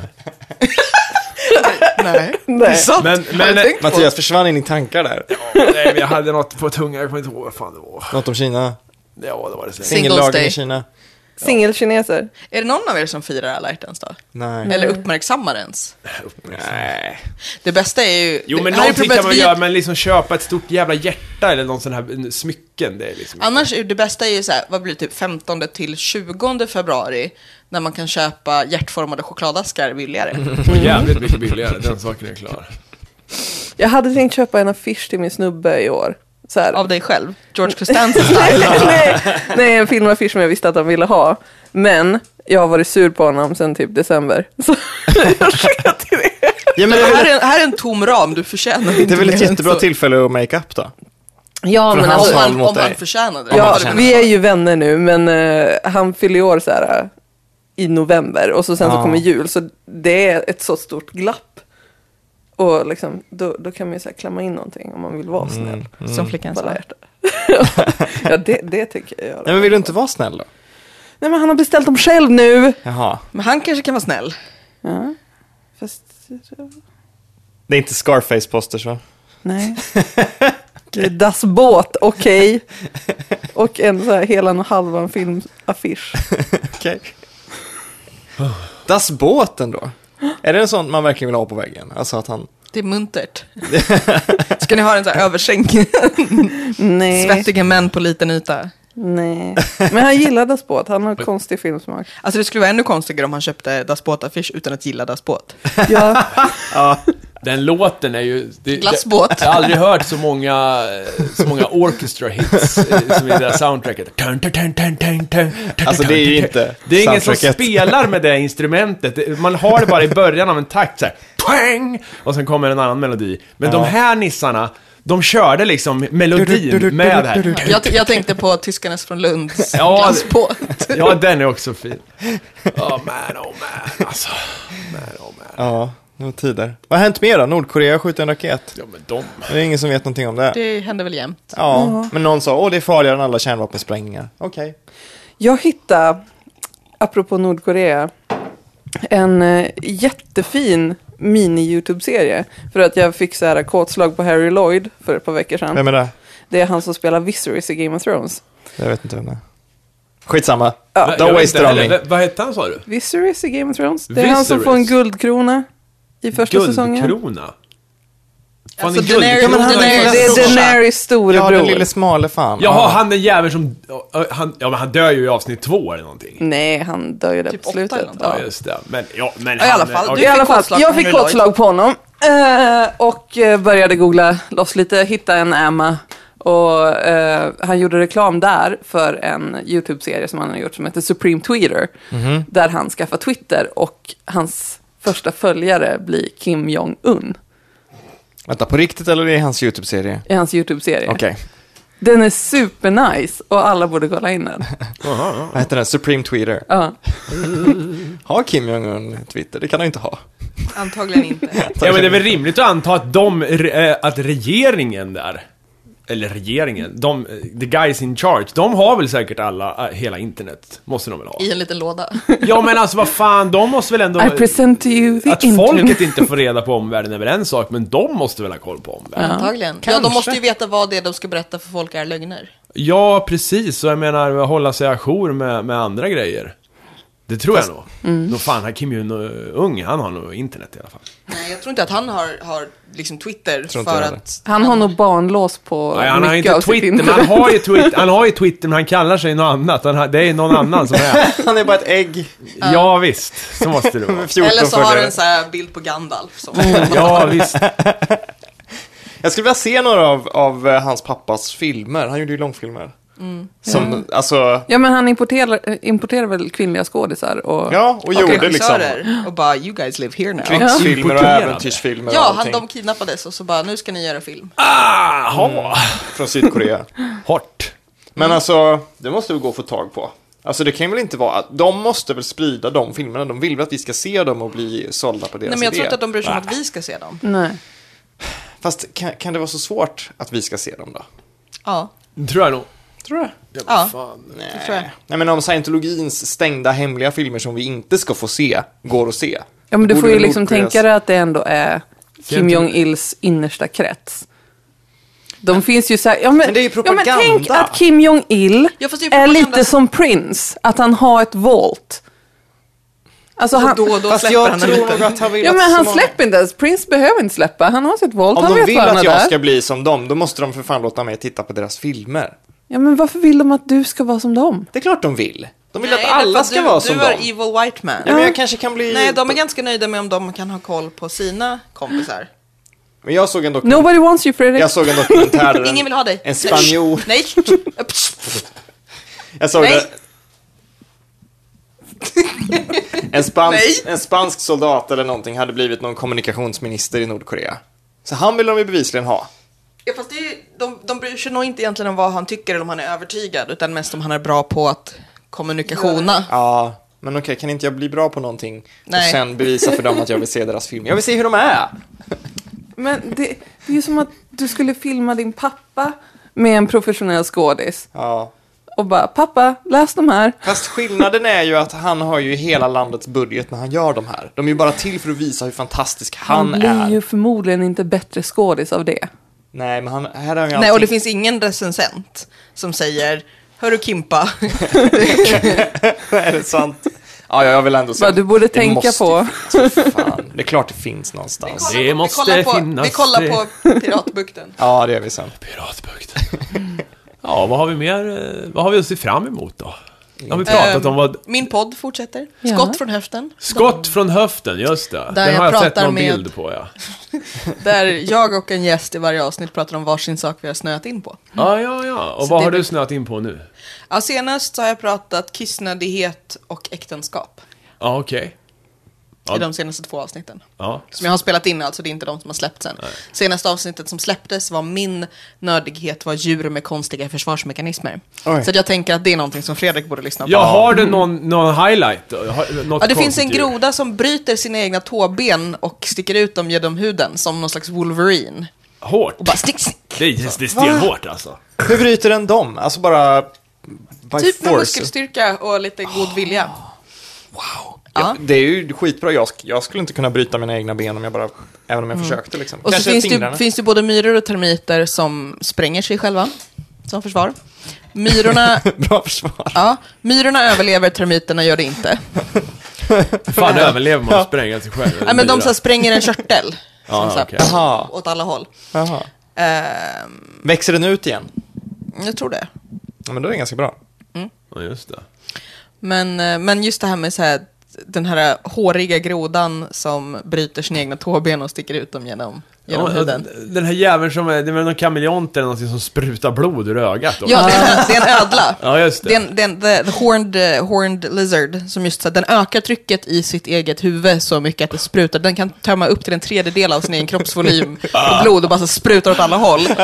S5: Nej. Nej. Det är sant.
S4: Men-
S5: Har du
S4: men-
S5: tänkt på?
S3: Mattias försvann in i tankar där.
S4: Nej, men jag hade något på tungan, jag kommer inte ihåg vad fan det var.
S3: Något om Kina.
S4: Ja, det var det säkert.
S5: Singles
S3: Singellagen
S5: Day.
S3: i Kina.
S6: Singelkineser.
S5: Är det någon av er som firar alla hjärtans dag?
S3: Nej.
S5: Eller uppmärksammar ens?
S3: Nej.
S5: Det bästa är ju...
S4: Jo
S5: det-
S4: men
S5: här är
S4: någonting
S5: problemet,
S4: kan man
S5: vi-
S4: göra, men liksom köpa ett stort jävla hjärta eller någon sån här en smycken, det är liksom...
S5: Annars är det bästa är ju så här, vad blir det, typ 15 till 20 februari, när man kan köpa hjärtformade chokladaskar billigare.
S3: <laughs>
S4: Jävligt mycket billigare, den saken är klar.
S6: Jag hade tänkt köpa en affisch till min snubbe i år. Så här.
S5: Av dig själv, George
S3: <laughs>
S5: Costanza.
S6: <laughs> nej, nej, en filmaffisch som jag visste att han ville ha. Men jag har varit sur på honom sedan typ december. <laughs> Så jag sket i det.
S3: Ja, men det, är
S5: här,
S3: väl,
S5: är en, här är en tom ram, du förtjänar
S3: det
S5: inte
S3: är väl ett
S5: mer än
S3: jättebra
S5: så.
S3: tillfälle att make up då?
S6: Ja,
S3: Från
S6: men
S3: hans
S5: Om
S6: alltså,
S3: håll.
S5: han,
S3: mot
S5: om han
S3: dig.
S5: förtjänade det.
S6: ja,
S5: Hade du
S6: vi är ju vänner nu, men eh, han fyller ju år så här eh, i november och så sen så
S3: Ja.
S6: kommer jul. Så det är ett så stort glapp. Och liksom, då, då kan man ju så här klämma in någonting om man vill vara snäll.
S5: Som flickan
S6: På alla hjärtan. <laughs> ja, det, det tänker jag
S3: Nej
S6: göra.
S3: men vill du inte vara snäll då?
S6: Nej, men han har beställt dem själv nu.
S3: Jaha.
S5: Men han kanske kan vara snäll.
S6: Fast,
S3: Det är inte Scarface-posters va?
S6: <laughs> Nej. Det är Das Båt, okej. Och en så här helan och halvan filmaffisch.
S3: Okej. Das båten då? Är det en sån man verkligen vill ha på väggen? Alltså att han...
S5: Det
S3: <laughs>
S5: är muntert. Ska ni ha en sån här översänk?
S6: Nej.
S5: Svettiga män på liten yta.
S6: Nej. Men han gillar Das Båt, han har konstig filmsmak.
S5: Alltså det skulle vara ännu konstigare om han köpte Das Båt-affisch utan att gilla Das Båt.
S6: Ja,
S4: Den låten är ju... Det,
S5: Glassbåt.
S4: Jag har aldrig hört så många, så många orchestra hits eh, som i det där soundtracket. Turn, turn, turn, turn, turn, turn, turn,
S3: Alltså, det är ju
S4: turn,
S3: inte
S4: turn. Det är ingen som
S3: soundtracket.
S4: spelar med det instrumentet. Det- Man har det bara i början av en takt så här, twang! Och sen kommer en annan melodi. Men de här nissarna, de körde liksom melodin med det här.
S5: Jag, jag tänkte på tyskarnas från
S3: <laughs>
S5: Lunds
S4: Ja, det-
S5: Das Båt.
S4: Ja, den är också fin. Oh man, oh man, alltså. Man, oh man.
S3: Ja, det var tider. Vad har hänt mer då? Nordkorea skjuter en raket.
S4: Ja, men de...
S3: Det är ingen som vet någonting om det.
S5: Det händer väl jämt.
S3: Ja, men någon sa åh det är farligare än alla kärnvapensprängningar. Okej.
S6: jag hittade, apropå Nordkorea, en eh, jättefin mini-YouTube-serie. För att jag fick så här kåtslag på Harry Lloyd för ett par veckor sedan.
S3: Vem är det?
S6: Det är han som spelar Viserys i Game of Thrones.
S3: Jag vet inte vem det är. Skitsamma.
S6: Ja.
S3: Don't waste it on me.
S4: Vad hette han sa du?
S6: Viserys i Game of Thrones. Det är han som
S4: Viserys.
S6: får en guldkrona i första säsongen.
S4: Guldkrona? Fan,
S5: Alltså,
S4: en guldkrona
S5: Daenerys-
S4: i första
S5: Daenerys-
S6: Det är
S4: säsongen.
S6: Daenerys
S3: Ja,
S6: storebror.
S3: den lille smale fan.
S4: Jaha, han den jäveln som... ja, Han, ja, men han dör ju i avsnitt två eller någonting.
S6: Nej, han dör ju där
S5: Typ
S6: på
S5: åtta
S6: slutet.
S5: eller något.
S4: Ja,
S6: Ja.
S4: just det. Men, ja, men
S5: Ja, i alla fall,
S4: okej.
S5: du-
S6: I alla fall,
S5: kåtslag på
S6: jag fick
S5: honom,
S6: kåtslag på honom. Eh, och eh, började googla loss lite, hitta en Emma. Och eh, han gjorde reklam där för en YouTube-serie som han har gjort som heter Supreme Tweeter.
S4: Mhm.
S6: Där han skaffar Twitter och hans första följare blir Kim Jong-Un
S3: Vänta, på riktigt eller i hans YouTube-serie?
S6: i hans YouTube-serie.
S3: Okej.
S6: Den är supernice och alla borde kolla
S4: <laughs>
S6: in den.
S3: Vad heter den? Supreme Tweeter.
S6: Ja.
S3: Har Kim Jong-Un Twitter? Det kan han ju inte ha.
S5: Antagligen inte.
S4: Ja, men det är väl rimligt att anta att de, eh, att regeringen där, eller regeringen, de, eh, the guys in charge, de har väl säkert alla, eh, hela internet, måste de väl ha?
S5: I en liten låda.
S4: Ja men alltså vad fan, de måste väl ändå...
S6: I present to you the
S4: Att
S6: internet.
S4: folket inte får reda på omvärlden är väl en sak, men de måste väl ha koll på omvärlden?
S5: Antagligen. Ja, de måste ju veta vad det är de ska berätta för folk är lögner.
S4: Ja, precis. Och jag menar, hålla sig ajour med, med andra grejer. Det tror jag nog.
S6: Mm.
S4: Nog fan, har Kim Jong-Ung, han har nog internet i alla fall.
S5: Nej, jag tror inte att han har, har liksom Twitter
S3: Tror inte
S5: för
S3: jag
S5: att...
S6: Han har nog barnlås på
S4: Nej, han har
S6: mycket
S4: inte
S6: av sitt
S4: Twitter, men
S6: internet.
S4: han har ju Twitter, han har ju Twitter, men han kallar sig något annat. Han har, det är någon annan som är...
S3: Han är bara ett ägg
S4: Ja, visst. Så måste det vara.
S6: <laughs>
S3: med 14
S5: Eller så har
S3: följare.
S5: du en sån här bild på Gandalf. Som...
S3: Mm.
S4: Ja, visst.
S3: Jag skulle vilja se några av, av eh, hans pappas filmer. Han gjorde ju långfilmer.
S5: Mm.
S3: Som, alltså,
S6: <laughs> Ja, men han importerar, eh, importerar väl kvinnliga skådisar och...
S3: ja, och gjorde liksom
S5: regissörer Och bara, you guys live here now.
S3: krigsfilmer och
S4: Importerade.
S3: äventyrsfilmer och
S5: Ja, han,
S3: allting
S5: de kidnappades och så bara, nu ska ni göra film.
S4: Aha.
S3: från Sydkorea.
S4: Ah, Hårt.
S3: Men alltså, det måste vi gå och få tag på. Alltså det kan väl inte vara att de måste väl sprida de filmerna. De vill väl att vi ska se dem och bli sålda på deras
S5: Nej, men jag
S3: idé.
S5: tror inte att de bryr sig om att vi ska se dem.
S6: Nej.
S3: Fast kan, kan det vara så svårt att vi ska se dem då?
S5: Ja,
S4: Det tror jag nog.
S3: Tror du?
S5: ja. det tror jag.
S3: Nej men om scientologins stängda hemliga filmer som vi inte ska få se går att se.
S6: Ja, men du
S3: borde
S6: får ju
S3: väl
S6: liksom
S3: Nordkoreas-
S6: tänka dig att det ändå är Kim
S4: Gentemot-
S6: Jong-Ils innersta krets. De finns ju så här, ja, men,
S3: Men det är ju
S6: Ja,
S3: propaganda.
S6: men tänk att Kim Jong-Il
S5: Ja, fast det är ju
S6: är
S5: propaganda.
S6: lite som Prince, att han har ett volt. Alltså han,
S5: Då och då
S3: Fast
S5: släpper
S3: jag
S5: han en
S3: tror nog
S5: liten.
S3: att han vill
S6: ja,
S3: att
S6: men
S3: så
S6: han
S3: många-
S6: släpper inte ens, Prince behöver inte släppa, han har sitt volt,
S3: Om
S6: han
S3: de
S6: vet
S3: vill
S6: var han
S3: att
S6: är
S3: jag
S6: där.
S3: ska bli som dem, då måste de för fan låta mig titta på deras filmer.
S6: Ja, men varför vill de att du ska vara som dem?
S3: Det är klart de vill. De vill
S5: Nej,
S3: att
S5: därför
S3: alla ska
S5: du,
S3: vara
S5: du
S3: som
S5: är
S3: dem.
S5: evil white man.
S3: Ja, men jag kanske kan bli...
S5: Nej, de är ganska nöjda med om de kan ha koll på sina kompisar.
S3: Men jag såg en dokumentär.
S6: Nobody wants you Fredrik.
S3: Jag såg en dokumentär där en-
S5: <laughs> Ingen vill ha dig.
S3: En spanjor.
S5: Nej. <laughs>
S3: Jag såg
S5: Nej.
S3: det. <laughs> En spansk, en spansk soldat eller någonting hade blivit någon kommunikationsminister i Nordkorea. Så han vill de ju bevisligen ha.
S5: Ja, fast det är, ju- de, de bryr sig nog inte egentligen om vad han tycker eller om han är övertygad, utan mest om han är bra på att kommunikationa.
S3: Ja, men okej, kan inte jag bli bra på någonting och
S5: Nej.
S3: sen bevisa för dem att jag vill se deras film? Jag vill se hur de är!
S6: Men det, det är ju som att du skulle filma din pappa med en professionell skådis
S3: Ja.
S6: och bara pappa, läs de här.
S3: Fast skillnaden är ju att han har ju hela landets budget när han gör de här. De är ju bara till för att visa hur fantastisk han,
S6: Han blir
S3: är.
S6: ju förmodligen inte bättre skådis
S3: <laughs>
S6: av det.
S3: Nej, men han, här har han ju
S5: Nej, och det
S3: allting.
S5: finns ingen recensent som säger Hörru Kimpa,
S3: <laughs> Är det sant? Ja, ja, jag vill ändå säga.
S6: Bara, du borde tänka på.
S3: Fan, det är klart det finns någonstans.
S4: Det måste
S5: <laughs> vi kollar på,
S4: finnas
S5: vi kollar
S4: det.
S5: på Piratbukten.
S3: Ja, det gör vi sen.
S4: Piratbukten. <laughs> Ja, vad har vi mer? eh, Vad har vi att se fram emot då?
S5: Eh,
S4: Har vi pratat om vad...
S5: Ehm, Min podd fortsätter.
S6: Ja.
S5: Skott från höften.
S4: Skott från höften, just det.
S5: Där
S4: Den har
S5: jag
S4: jag sett
S5: pratar
S4: någon
S5: med-
S4: bild på,
S5: <laughs>
S4: ja.
S5: Där jag och en gäst i varje avsnitt pratar om varsin sak vi har snöat in på.
S4: Ja, ja, ja. Och
S5: Så
S4: vad
S5: det
S4: har
S5: blir-
S4: du snöat in på nu?
S5: Ja, senast så har jag pratat kissnödighet och äktenskap.
S4: Ja, okej. Ja.
S5: I de senaste två avsnitten.
S4: Ja.
S5: Som jag har spelat in alltså, det är inte de som har släppts än. Senaste avsnittet som släpptes var min nördighet var djur med konstiga försvarsmekanismer.
S3: Oj.
S5: Så att jag tänker att det är någonting som Fredrik borde lyssna på.
S4: Ja, har du någon, någon highlight? då? Har- Något
S5: Mm. Ja, det finns
S4: konstigt
S5: en
S4: djur?
S5: groda som bryter sina egna tåben och sticker ut dem genom huden som någon slags Wolverine.
S4: Hårt.
S5: Och bara stick, stick.
S4: Det är, det är stenhårt alltså.
S3: Hur bryter den dem? Alltså bara... By
S5: Typ med
S3: force.
S5: muskelstyrka och lite god
S3: <gasps>
S5: vilja.
S3: Ja, det är ju skitbra. Jag, sk- jag skulle inte kunna bryta mina egna ben om jag bara... Även om jag försökte liksom.
S5: Mm. Och så
S3: Kanske
S5: finns det, ju-
S3: fingrarna.
S5: finns det ju både myror och termiter som spränger sig själva som försvar. Myrorna,
S3: <laughs> Bra försvar.
S5: ja, myrorna överlever, termiterna gör
S3: <laughs>
S5: det inte.
S7: Fan överlever man att spränga sig själv?
S5: Nej, men de så här spränger
S3: <laughs>
S5: en körtel. som så här,
S7: okej.
S3: Jaha,
S5: Åt alla håll.
S3: jaha.
S5: Ehm,
S3: Växer den ut igen?
S5: jag tror det.
S3: Ja, men då är det ganska bra.
S7: Ja, just det.
S5: Men, eh, men just det här med så här, den här håriga grodan som bryter sina egna tåben och sticker ut dem genom, genom
S7: Ja,
S5: huden.
S7: den här jäveln som är, det är väl någon kameleont eller någonting som sprutar blod ur ögat då?
S5: Ja, <laughs> det är en, det är en ödla.
S7: Ja, just det.
S5: Det är en, det är en the, the horned, eh, horned lizard som just så här, den ökar trycket i sitt eget huvud så mycket att det sprutar. Den kan tömma upp till en tredjedel av sin egen kroppsvolym på blod och bara så sprutar åt alla håll. Och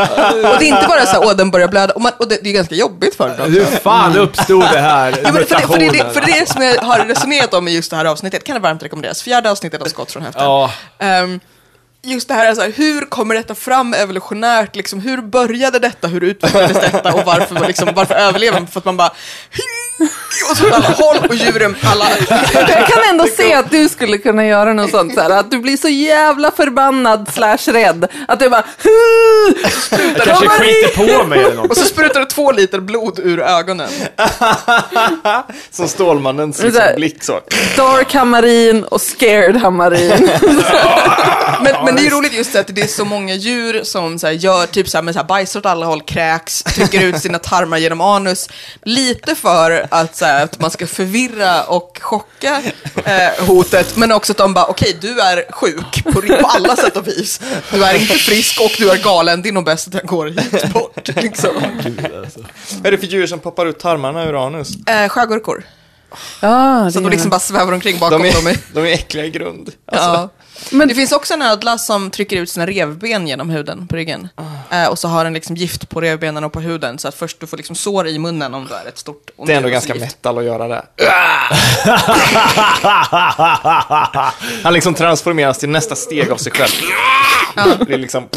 S5: det är inte bara så här, åh den börjar blöda. Och, man, och det, det är ganska jobbigt för dem.
S7: Hur fan uppstod det här?
S5: Ja, men för, det, för, det, för det är det som jag har resonerat om i just det här avsnittet kan det varmt rekommenderas. Fjärde avsnittet av Skott från höften.
S7: Ja.
S5: Ehm, just det här, är så här, hur kommer detta fram evolutionärt? Liksom, hur började detta? Hur utvecklades detta? Och varför, var liksom, varför överlever man? För att man bara... Och så åt alla håll och djuren, alla...
S6: Jag kan ändå se att du skulle kunna göra något sånt så här, att du blir så jävla förbannad slash rädd att du bara
S7: Jag kanske
S6: Kommer in!
S7: skiter på mig eller
S5: Och
S7: något.
S5: så sprutar det två liter blod ur ögonen.
S3: Som Stålmannens
S6: Det är så
S3: liksom,
S6: här-
S3: blick så.
S6: dark hammarin och scared hammarin.
S5: Men, men det är ju roligt just att det är så många djur som så här gör typ så här, med så här bajsar åt alla håll, kräks, trycker ut sina tarmar genom anus. Lite för att, så här, att man ska förvirra och chocka eh, hotet, men också att de bara, okej, du är sjuk på, ri- på alla sätt och vis. Du är inte frisk och du är galen, det är nog bäst att jag går hit bort. Liksom.
S3: Vad är det för djur som poppar ut tarmarna ur anus?
S5: Eh, sjögurkor,
S6: Ja,
S5: så
S6: det
S5: de
S6: är-
S5: liksom bara svävar omkring bakom
S3: De
S5: dem. i-
S3: är, <laughs> de är äckliga i grund. Alltså,
S5: Ja. Men det finns också en ödla som trycker ut sina revben genom huden på ryggen. Eh, och så har den liksom gift på revbenen och på huden. Så att först du får liksom sår i munnen om du är ett stort
S3: Det är ändå ganska
S5: gift.
S3: metal att göra det. <laughs> Han liksom transformeras till nästa steg av sig själv. Blir liksom...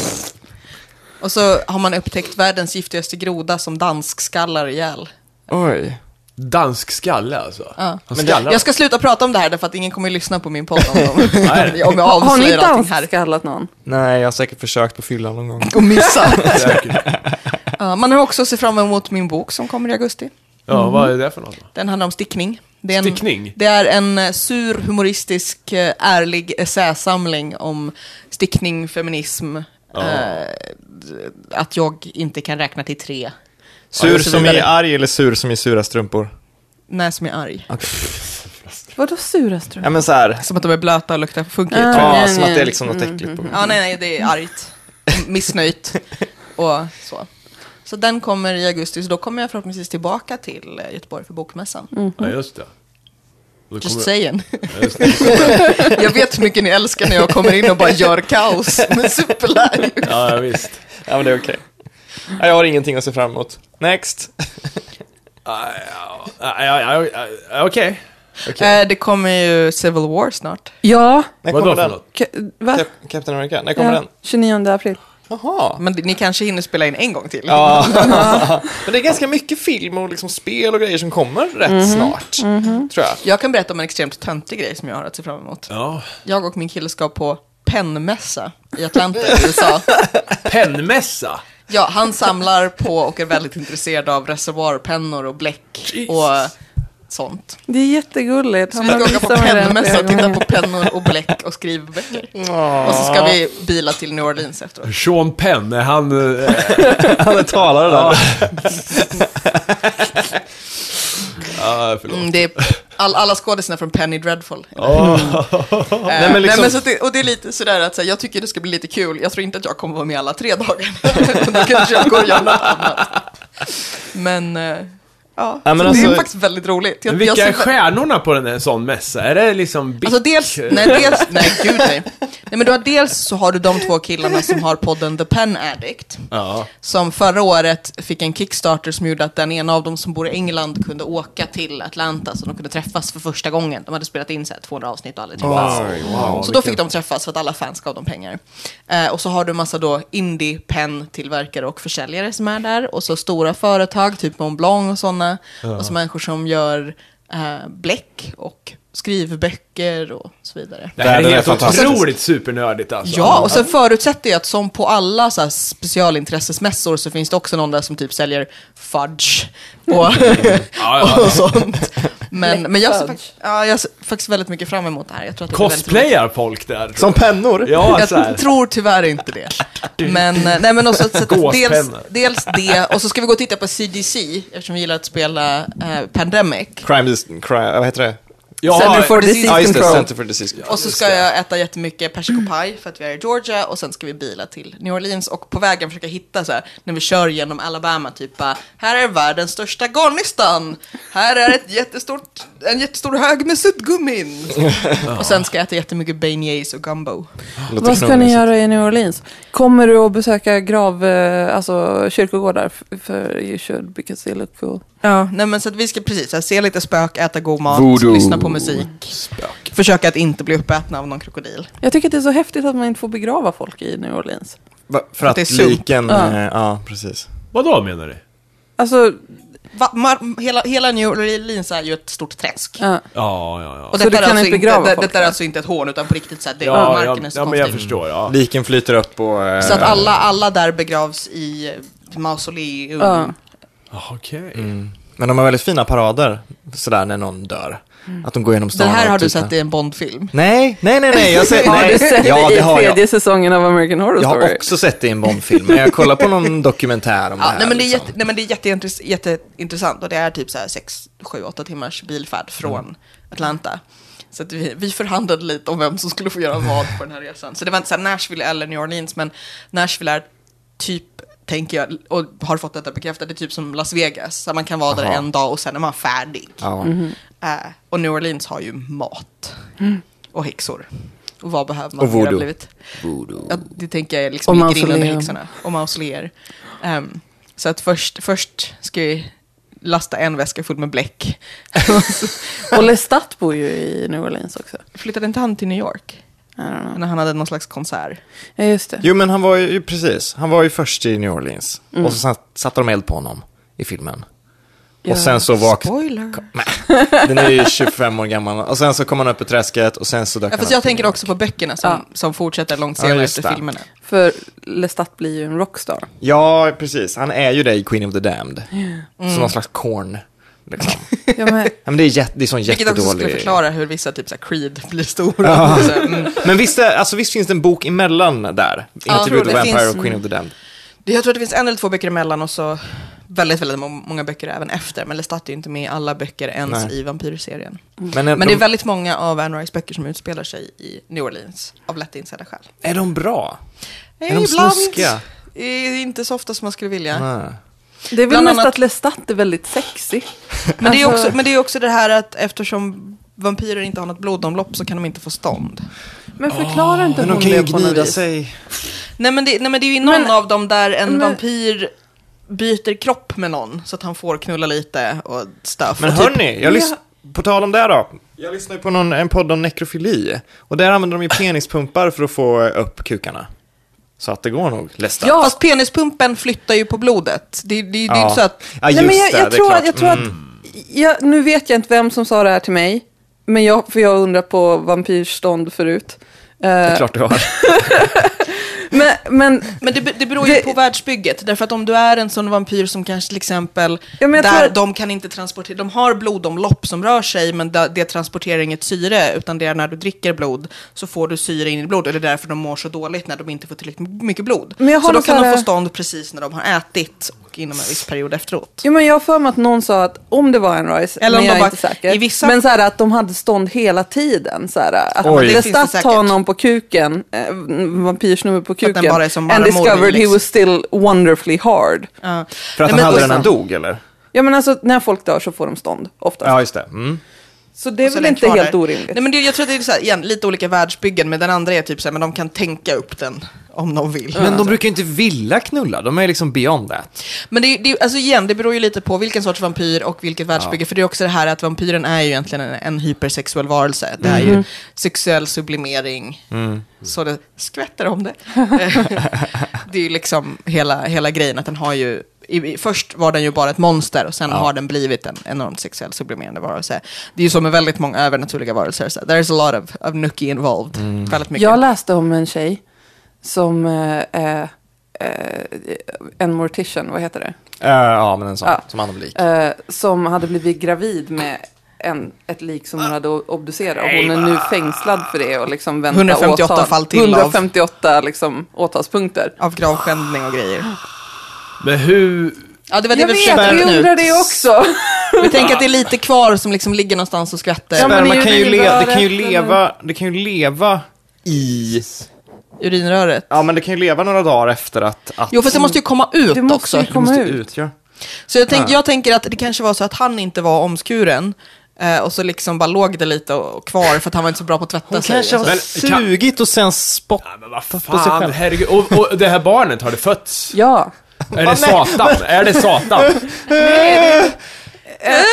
S5: Och så har man upptäckt världens giftigaste groda som dansskallar ihjäl.
S3: Oj.
S7: Dansk skalle alltså. Han skallar.
S5: Jag ska sluta prata om det här därför att ingen kommer att lyssna på min podd om, om, om jag
S6: Har ni
S5: avslöjar allting här.
S6: dansskallat någon?
S3: Nej, jag har säkert försökt på fyllan någon gång.
S5: Och missa.
S7: Säkert.
S5: <laughs> Ja, man har också sett fram emot min bok som kommer i augusti.
S7: Ja, vad är det för något då?
S5: Den handlar om stickning. Det är en,
S7: Stickning?
S5: Det är en eh, sur, humoristisk, eh, ärlig essäsamling om stickning, feminism, eh, d- att jag inte kan räkna till tre.
S3: Sur
S5: och så
S3: som i
S5: vidare.
S3: arg eller sur som i sura strumpor?
S5: När som är arg.
S6: Vadå sura strumpor?
S3: Ja men så här.
S5: Som att de är blöta och luktar funkigt.
S6: Ah.
S3: Ja,
S6: nej,
S3: som att det är
S6: nej. Mm,
S3: liksom något äckligt på
S5: Ja, nej, nej, det är argt. Missnöjt och så. Så den kommer i augusti, så då kommer jag förhoppningsvis tillbaka till eh, Göteborg för bokmässan.
S7: Ja, just det. Då
S5: Just
S7: kommer,
S5: saying.
S7: ja, just det.
S5: <laughs> Jag vet hur mycket ni älskar när jag kommer in och bara gör kaos
S7: <laughs>
S5: med Superlive.
S7: Ja, ja, <laughs> visst.
S6: mm.
S3: Ja men det är okej. Ja, Jag har ingenting att se fram emot. Next!
S7: Ja, Ah, ja, ja, ja, ja, ja, Okej.
S5: Eh, det kommer ju Civil War snart.
S6: Ja,
S3: När kommer
S7: Vadå för
S3: den?
S7: något?
S6: ka- va?
S3: Cap- Captain America, när kommer
S6: Ja,
S3: den?
S6: 29 april.
S3: Jaha!
S5: Men ni kanske hinner spela in en gång till.
S3: Ja. <laughs> men det är ganska mycket film och liksom spel och grejer som kommer rätt
S6: Mhm,
S3: snart. Tror jag.
S5: Jag kan berätta om en extremt töntig grej som jag har att se fram emot.
S7: Ja.
S5: Jag och min kille ska på pennmässa i Atlanta i
S7: <laughs>
S5: USA.
S7: Pennmässa?
S5: Ja, han samlar på och är väldigt intresserad av reservoarpennor och bläck och sånt.
S6: Det är jättegulligt. Han
S5: Vi ska
S6: bara
S5: åka på
S6: visar mig den
S5: pennmässa
S6: flera
S5: och titta
S6: gånger.
S5: på pennor och bläck och skrivböcker. Och så ska vi bila till New Orleans efteråt.
S7: Sean Penn, är han... <laughs> eh,
S3: Han är talare där.
S7: <laughs> Ja, förlåt.
S5: Mm, det är all, alla skådisarna från Penny Dreadful. Eh,
S3: men
S5: nej, men
S3: liksom-
S5: så att det, och det är lite sådär att så här, jag tycker det ska bli lite kul. Jag tror inte att jag kommer vara med alla tre dagar. <laughs> Då kanske jag går och gör något annat. Men, eh, ja.
S3: Ja, men
S5: så det
S3: alltså-
S5: är faktiskt väldigt roligt. Jag, jag
S7: Vilka
S5: ser-
S7: är stjärnorna på den här sån mässa? Är det liksom Bick?
S5: Alltså dels, nej dels, nej gud nej. Nej men du har dels så har du de två killarna som har podden The Pen Addict.
S7: Ja.
S5: Som förra året fick en kickstarter som gjorde att den ena av dem som bor i England kunde åka till Atlanta så de kunde träffas för första gången. De hade spelat in så här 200 avsnitt och aldrig träffats. så då fick de träffas för att alla fans gav dem pengar. Eh, och så har du en massa då indie pen tillverkare och försäljare som är där. Och så stora företag, typ Montblanc och sådana. Och så människor som gör eh, bläck och skrivböcker och så vidare.
S4: Det här
S3: Världen
S4: är
S3: är
S4: helt
S3: fantastisk.
S4: otroligt supernördigt alltså.
S5: Ja, och sen förutsätter jag att som på alla så här specialintressesmässor så finns det också någon där som typ säljer fudge och, <laughs> och sånt. Men, men jag, ser
S6: Fudge.
S5: faktiskt, ja, jag ser faktiskt väldigt mycket fram emot det här. Jag tror att det blir väldigt roligt.
S4: Cosplayar folk där?
S3: Som pennor?
S4: Ja, så här.
S5: Jag tror tyvärr inte det. Men, eh, nej, men också, så att dels,
S4: Gåspennor.
S5: dels det, och så ska vi gå och titta på CDC, efficiom vi gillar att spela eh, Pandemic.
S3: Crime, dis- crime, vad heter det?
S6: Center
S4: Ja,
S6: for Disease
S3: Ja, just det,
S6: Control.
S3: Center for Disease Control.
S5: Och så ska jag äta jättemycket persikopaj för att vi är i Georgia och sen ska vi bila till New Orleans och på vägen försöka hitta så här, när vi kör genom Alabama, typ bara, här är världens största garnistan, här är ett jättestort, en jättestor hög med suddgummin. och sen ska jag äta jättemycket beignets och gumbo.
S3: Låter
S6: Vad ska ni
S3: knulligt.
S6: göra i New Orleans? Kommer du att besöka grav, eh, alltså kyrkogårdar? F- För you should, because they look cool.
S5: Ja, nej men så att vi ska precis så här, se lite spök, äta god mat,
S3: Voodoo.
S5: lyssna på musik, försöka att inte bli uppätna av någon krokodil.
S6: Jag tycker att det är så häftigt att man inte får begrava folk i New Orleans.
S3: Va, för att,
S5: det är sump.
S3: liken,
S6: Ja.
S3: ja. ja precis.
S4: vadå menar du?
S6: Alltså,
S5: Va, mar, hela, hela New Orleans är ju ett stort träsk.
S6: ja.
S4: Ja, ja, ja.
S5: Och
S6: Så
S5: detta
S6: du
S5: är
S6: kan
S5: alltså
S6: inte begrava
S5: det-
S6: folk
S5: Detta är
S6: där?
S5: alltså inte ett hån, utan på riktigt så här, det,
S4: Ja,
S5: marken är Mm.
S4: ja,
S5: så
S4: ja men jag
S5: konstig.
S4: förstår, ja.
S3: Liken flyter upp och... eh,
S5: Mm. Så att alla, alla där begravs i mausoleum.
S6: Ja.
S4: Ah, Okej.
S3: Mm. Men de har väldigt fina parader, sådär när någon dör. Att de går genom
S5: Mm. Det
S3: stan
S5: här
S3: och
S5: har du
S3: tittar.
S5: sett i en Bondfilm.
S3: Nej, nej, nej, nej. Jag
S5: <laughs>
S3: ser,
S6: Har
S3: nej.
S6: du sett det i
S3: har jag.
S6: tredje säsongen av American Horror
S3: Jag
S6: Story?
S3: har också sett det i en Bondfilm, men jag kollar på någon dokumentär om det
S5: Ja,
S3: här.
S5: nej, men det är,
S3: liksom.
S5: jätte, nej men det är jätteintress- jätteintressant och det är typ så här 6, 7, 8 timmars bilfärd från
S4: Mm.
S5: Atlanta. Så att vi, vi förhandlade lite om vem som skulle få göra vad på den här resan. Så det var inte så här Nashville eller New Orleans, men Nashville är typ, tänker jag, och har fått detta bekräftat, det är typ som Las Vegas. Så man kan vara där
S3: Aha.
S5: en dag och sen är man färdig.
S3: Ja.
S5: Eh, och New Orleans har ju mat. Och häxor. Och vad behöver man
S3: Och
S5: för att göra
S3: voodoo.
S5: livet? Ja, det tänker jag är
S6: Och
S5: liksom ligger under
S6: mausoleum.
S5: häxorna. Och mausoleer. Ehm, så att först, först ska vi lasta en väska full med bläck. <laughs>
S6: Och Lestat bor ju i New Orleans också.
S5: Flyttade inte han till New York?
S6: I don't know.
S5: När han hade någon slags konsert.
S6: Ja, just det.
S3: Jo, men han var ju, precis, han var ju först i New Orleans.
S5: Mm.
S3: Och så satt- satte de eld på honom i filmen.
S6: Ja.
S3: Och sen så vaknade...
S5: Spoiler.
S3: Den är ju 25 år gammal. Och sen så kom han upp i träsket och sen så dök
S5: Ja,
S3: han
S5: fast
S3: upp
S5: jag
S3: i
S5: tänker
S3: New
S5: också på böckerna som,
S6: Ja.
S5: som fortsätter långt
S3: Ja,
S5: senare
S3: just
S5: efter
S3: det.
S5: filmerna.
S6: För Lestat blir ju en rockstar.
S3: Ja, precis. Han är ju det i Queen of the Damned. Som
S5: Mm.
S3: någon slags korn. Liksom.
S6: Ja, men,
S3: ja, men det är, jätte, det är sån
S5: Vilket också skulle
S3: jättedålig-
S5: förklara hur vissa typ så här Creed blir stora. <laughs> Så, mm.
S3: Men visst, är, alltså, visst finns det en bok emellan där?
S5: Ja,
S3: Interview with
S5: det
S3: the Vampire
S5: finns. Mm.
S3: och Queen of the Damned.
S5: Det- Jag tror att det finns en eller två böcker emellan och så väldigt, väldigt må- många böcker även efter. Men Lestat är ju inte med i alla böcker ens
S3: Nej.
S5: i vampyrserien.
S3: Men, är,
S5: Men det
S3: de,
S5: är väldigt många av Anne Rice böcker som utspelar sig i New Orleans av lätt insedda skäl.
S3: är de bra?
S5: Är
S3: de snuskiga?
S5: Inte så ofta som man skulle vilja.
S3: Nej.
S6: det är väl
S5: Bland
S6: mest
S5: annat-
S6: att Lestat är väldigt sexy.
S5: Men, det är
S6: Alltså-
S5: också, men det är också det här att eftersom vampyrer inte har något blodomlopp så kan de inte få stånd.
S6: Men förklara inte
S3: Ah, Men
S6: hon
S3: de kan ju
S6: det på något
S3: gnida
S6: vis.
S3: sig.
S5: Nej men det, nej, men det är ju någon
S6: Men-
S5: av dem där en
S6: men-
S5: vampyr byter kropp med någon så att han får knulla lite och stuff.
S3: Men
S5: och typ-
S3: hörni, jag lys- på tal om det då. Jag lyssnar ju på någon, en podd om nekrofili. Och där använder de ju penispumpar för att få upp kukarna. Så att det går nog, Lesta.
S5: Ja, fast penispumpen flyttar ju på blodet. Det, det, det är ju inte så att...
S3: ja, just
S6: Nej, men jag,
S3: det,
S6: jag,
S3: det
S6: tror,
S3: är
S6: att-
S3: klart. Mm.
S6: jag tror att, jag, nu vet jag inte vem som sa det här till mig, men jag, för jag undrar på vampyrstånd förut.
S3: Det
S6: Eh,
S3: är klart du
S5: <laughs>
S3: har.
S6: men, men,
S5: Men det, be- det beror ju
S6: Det-
S5: på världsbygget. Därför att om du är en sån vampyr som kanske till exempel,
S6: Ja, men jag
S5: där
S6: tror att-
S5: de kan inte transportera, de har blodomlopp som rör sig, men det, det transporterar inget syre, utan det är när du dricker blod så får du syre in i blodet. Och det är därför de mår så dåligt när de inte får tillräckligt mycket blod.
S6: Men jag har
S5: så då
S6: någon
S5: kan
S6: så
S5: de
S6: här-
S5: få stånd precis när de har ätit och inom en viss period efteråt.
S6: jo, men jag har för mig att någon sa att om det var en Rice,
S5: Eller om
S6: men
S5: de
S6: jag är
S5: bara-
S6: inte säker.
S5: i vissa-
S6: Men så här, att de hade stånd hela tiden. Så här, att
S5: Oj. Det
S6: det
S5: finns det
S6: statt
S5: säkert.
S6: tar någon på kuken, eh, vampyrsnubbe på
S5: den
S6: kuken.
S5: bara är som liksom.
S6: and
S5: Maramor
S6: discovered he
S5: Remix.
S6: was still wonderfully hard.
S5: Ja.
S3: För att
S5: Nej, men-
S3: han hade
S5: och-
S3: den när han dog, eller?
S6: Ja men alltså när folk dör så får de stånd oftast.
S3: Ja, just det. Mm.
S6: Så det är
S5: Och så
S6: väl
S5: den
S6: inte
S5: kvar
S6: helt
S5: där.
S6: orimligt.
S5: Nej, men det, jag tror att det är så här, igen, lite olika världsbyggen, men den andra är typ så här, men de kan tänka upp den om de vill.
S3: Men de brukar ju inte vilja knulla, de är liksom beyond that.
S5: Men det, det, alltså igen, det beror ju lite på vilken sorts vampyr och vilket världsbygge. För det är också det här att vampyren är ju egentligen en, en hypersexuell varelse. Det är
S6: Mm.
S5: ju sexuell sublimering. Så <laughs> det skvätter om det. Eh, det är ju liksom hela, hela grejen att den har ju i, i, först var den ju bara ett monster och sen har den blivit en enormt sexuellt sublimerande varelse. Det är ju så med väldigt många övernaturliga varelser. Så there's a lot of, of nookie involved. Väldigt mycket.
S6: Mm. Jag läste om en tjej som eh, eh, eh, en mortician, vad heter det?
S3: Eh, ja, men en sån.
S6: Ja.
S3: Som anomalik.
S6: Eh, som hade blivit gravid med en, ett lik som
S5: Ah.
S6: hon hade o- obducerat. Och hon är nu fängslad för det och liksom väntar
S5: 158
S6: åtal.
S5: fall till av-
S6: 158 liksom, åtalspunkter.
S5: Av gravskändning och grejer.
S4: Men hur...
S5: Ja, det var det
S6: Jag
S5: vi
S6: vet,
S5: försökte
S6: jag
S5: nu.
S6: undrar det
S5: <laughs>
S6: också.
S5: Vi tänker att det är lite kvar som liksom ligger någonstans och skvätter.
S6: Ja, men-
S3: Sperma
S6: i
S3: kan ju le- det kan ju
S6: urinröret,
S3: leva, det kan ju leva i...
S5: Urinröret.
S3: Ja, men det kan ju leva några dagar efter att... att
S5: Jo, fast det måste ju komma ut
S6: Det måste
S5: också.
S6: ju komma
S3: måste
S6: ut.
S3: ja.
S5: Så jag, tänk, jag tänker att det kanske var så att han inte var omskuren. eh, Och så liksom bara låg det lite och och kvar för att han var inte så bra på att tvätta
S3: Hon
S5: sig. alltså.
S3: kanske har
S5: Så-
S4: Men kan-
S3: sugit och sen spottat
S4: Men vad
S3: på sig
S4: fan,
S3: själv.
S4: herregud. Och, och det här barnet, har det fötts?
S6: ja.
S4: Är det
S5: <laughs>
S4: Satan? Är det Satan?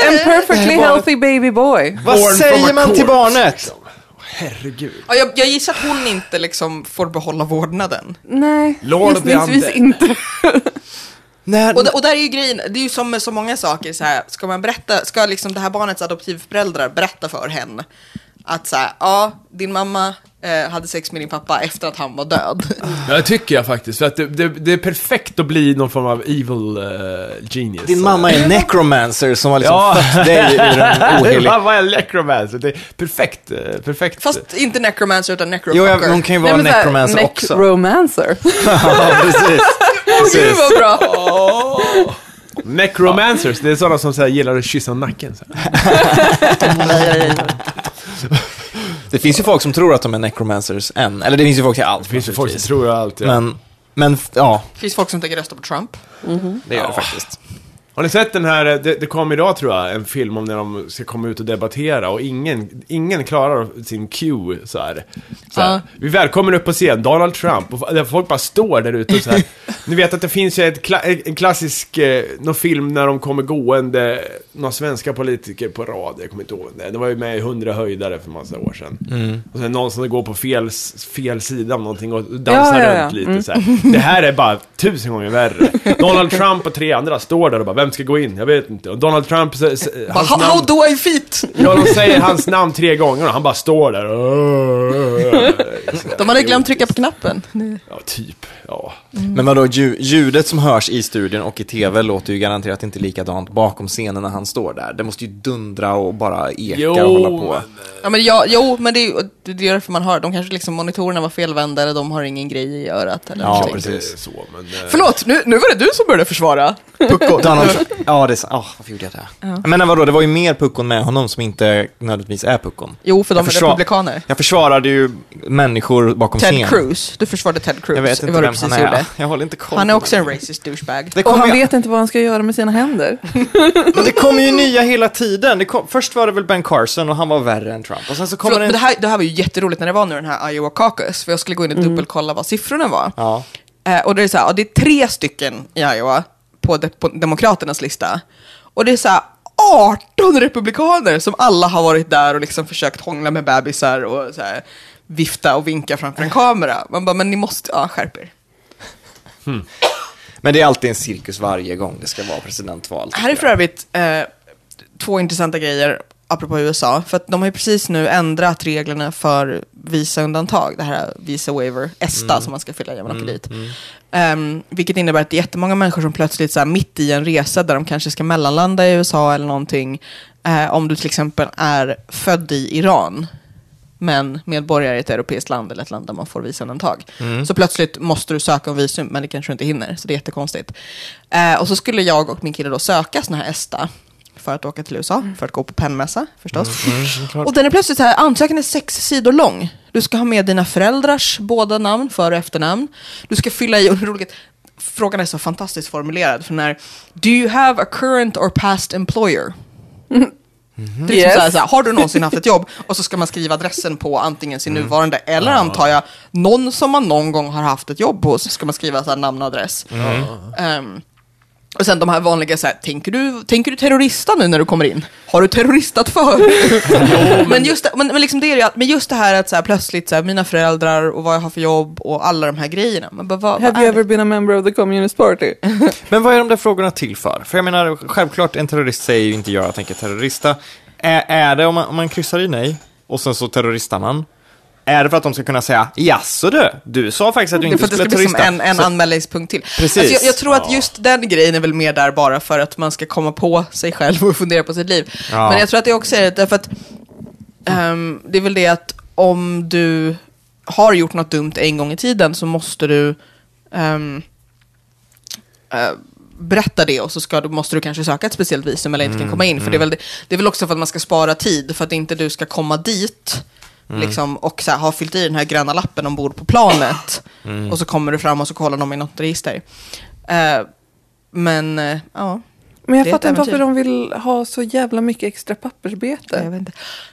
S6: En perfectly healthy baby boy.
S3: Vad
S4: Born from a
S3: säger man till
S4: corpse,
S3: barnet?
S4: Herregud.
S5: Ja, jag, jag gissar att hon inte liksom får behålla vårdnaden.
S6: Nej,
S4: Lord of the
S6: gissningsvis
S4: Undead.
S6: inte.
S3: När,
S5: Och, d- och där är ju grejen, det är ju som med så många saker så här, ska man berätta, ska liksom det här barnets adoptivföräldrar berätta för henne att så här, ja, din mamma eh, hade sex med din pappa efter att han var död.
S3: Mm.
S4: Ja, det tycker jag faktiskt. För att det, det, det är perfekt att bli någon form av evil eh, genius.
S3: Din mamma är necromancer som har liksom
S4: Ja.
S3: fött dig <laughs> ur en
S4: Din
S3: ohelig...
S4: mamma är necromancer. Det är perfekt, eh, perfekt.
S5: Fast inte necromancer utan
S3: Jo, jag,
S5: necrofucker.
S3: hon kan ju vara
S6: Nej, men så här,
S3: necromancer också.
S6: necromancer.
S3: Ja, precis.
S5: Gud vad bra!
S4: Necromancers, det är sådana som så här, gillar att kyssa nacken. Så här.
S3: Det finns ju folk som tror att de är necromancers än. Eller det finns ju folk till allt.
S4: Det finns ju folk som
S3: naturligtvis.
S4: tror allt. Ja.
S3: Men, men f- ja,
S5: Finns folk som tänker rösta på Trump?
S3: det gör det faktiskt.
S4: Har ni sett den här, eh, det, det kom idag tror jag, en film om när de ska komma ut och debattera och ingen, ingen klarar sin cue så här. Så här.
S5: Ja.
S4: Vi välkomnar upp på scen Donald Trump och f- där folk bara står där ute och
S6: <laughs>
S4: så här. Ni vet att det finns ju ett kla- en klassisk, eh, någon film när de kommer gående, några svenska politiker på rad, jag kommer inte ihåg det. Det var ju med i 100 höjdare för massa år sedan.
S6: Mm.
S4: Och sen någon som går på fel, s- fel sida om någonting och dansar
S6: Ja, ja, ja.
S4: runt lite så här. Det här är bara tusen gånger värre. Donald Trump och tre andra står där och bara, vem ska gå in? Jag vet inte. Och Donald Trump, s- s-
S5: Bara,
S4: hans
S5: How, how
S4: namn,
S5: do I fit?
S4: ja, de säger hans namn tre gånger och han bara står där.
S5: De hade glömt trycka på knappen.
S4: Ja, typ. Ja.
S3: Mm. Men vadå, lju- ljudet som hörs i studion och i tv låter ju garanterat inte likadant bakom scenen när han står där. Det måste ju dundra och bara eka
S4: Jo,
S3: och hålla på.
S5: Ja, men jag, jo, men det är, ju- det är därför man hör. De kanske liksom monitorerna var felvända eller de har ingen grej i örat eller
S3: Ja,
S5: någonting.
S3: precis.
S4: Det är så, men... eh,
S5: Förlåt, nu, nu var det du som började försvara.
S3: Pucko, Donald Trump. Ja, det är sant. Ah, varför gjorde jag det? Men vadå, det var ju mer puckon med honom som inte nödvändigtvis är puckon.
S5: Jo, för de
S3: Jag
S5: är
S3: försvar-
S5: republikaner.
S3: Jag försvarade ju människor bakom
S5: Ted
S3: scenen.
S5: Cruz. Du försvarade Ted Cruz.
S3: Jag vet
S5: Det
S3: inte
S5: var du
S3: vem han
S5: precis
S3: är.
S5: gjorde.
S3: Jag håller inte koll
S5: Han är
S3: på
S5: också
S3: det.
S5: en racist douchebag.
S3: Det
S6: Och
S3: kommer
S6: han
S3: ju-
S6: vet inte vad han ska göra med
S5: <laughs>
S6: sina händer.
S3: Men det kommer ju nya hela tiden. Det kom, först var det väl Ben Carson och han var värre än Trump. Och sen så kommer
S5: Förlåt,
S3: det...
S5: men det, här, det här var ju jätteroligt när det var nu den här Iowa Caucus, för jag skulle gå in och dubbelkolla vad siffrorna var.
S3: Mm. Ja.
S5: Eh, och det är så här, ja, det är tre stycken i Iowa på, de, på Demokraternas lista. Och det är så här, 18 republikaner som alla har varit där och liksom försökt hångla med bebisar och så här, vifta och vinka framför en kamera. Man bara, men ni måste, ja skärp er.
S3: Men det är alltid en cirkus varje gång det ska vara presidentval. tycker
S5: Här är för
S3: jag.
S5: övrigt eh, två intressanta grejer apropå USA. För att de har ju precis nu ändrat reglerna för visa-undantag. Det här visa waiver, ESTA,
S3: Mm.
S5: som man ska fylla i om man åker dit. Ehm, vilket innebär att det är jättemånga människor som plötsligt så här, mitt i en resa där de kanske ska mellanlanda i USA eller någonting. Eh, om du till exempel är född i Iran men medborgare i ett europeiskt land eller ett land där man får visumundantag. Så plötsligt måste du söka om visum, men det kanske du inte hinner, så det är jättekonstigt. Eh, och så skulle jag och min kille då söka sådana här ESTA för att åka till USA, för att gå på pennmässa förstås. och den är plötsligt så här, ansökan är sex sidor lång. Du ska ha med dina föräldrars båda namn, för och efternamn. Du ska fylla i, och det är roligt, frågan är så fantastiskt formulerad, för den är Do you have a current or past employer? Det är liksom
S6: Yes.
S5: så här, så här, har du någonsin haft ett jobb? Och så ska man skriva adressen på antingen sin nuvarande eller antar jag någon som man någon gång har haft ett jobb hos. Ska man skriva så här namn och adress. Ehm, Och sen de här vanliga så här, tänker du, tänker du terrorista nu när du kommer in? Har du terroristat för?
S3: <laughs>
S5: men, just det, men, men, liksom det är ju, att- men just det här att så här, plötsligt så här, mina föräldrar och vad jag har för jobb och alla de här grejerna. Men bara, vad, vad
S6: Have you
S5: är det?
S6: ever been a member of the communist party?
S3: Men vad är de där frågorna till för? För jag menar, självklart, en terrorist säger ju inte jag tänker terrorista. Är, är det om man, om man kryssar i nej och sen så terroristar man? Är det för att de ska kunna säga jaså du, du sa faktiskt att du
S5: Det är för
S3: inte
S5: att det
S3: skulle
S5: ska bli som
S3: terrorista.
S5: en, en
S3: så,
S5: anmälningspunkt till.
S3: Precis.
S5: Alltså jag, jag tror att just den grejen är väl mer där bara för att man ska komma på sig själv och fundera på sitt liv.
S3: Ja.
S5: Men jag tror att det också är därför att ehm, det är väl det att om du har gjort något dumt en gång i tiden så måste du ehm, eh, berätta det och så ska, du- måste du kanske söka ett speciellt visum eller inte kan komma in. För det, är väl, det, det är väl också för att man ska spara tid, för att inte du ska komma dit liksom, och så här, ha fyllt i den här gröna lappen ombord på planet. Och så kommer du fram och så kollar de i något register. Eh, men, eh, ja.
S6: Men jag
S5: Det är
S6: fattar
S5: ett
S6: inte varför de
S5: äventyr.
S6: vill ha så jävla mycket extra pappersbete.
S5: Jag vet inte.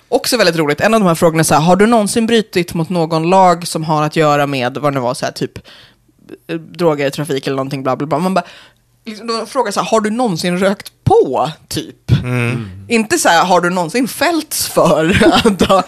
S5: Också väldigt roligt, en av de här frågorna är så här, har du någonsin brutit mot någon lag som har att göra med vad det nu var, så här, typ eh, droger i trafik eller någonting bla bla bla. Man bara, liksom, de frågar så här, har du någonsin rökt på typ? Inte så här, har du någonsin fällts för? <laughs> att ha-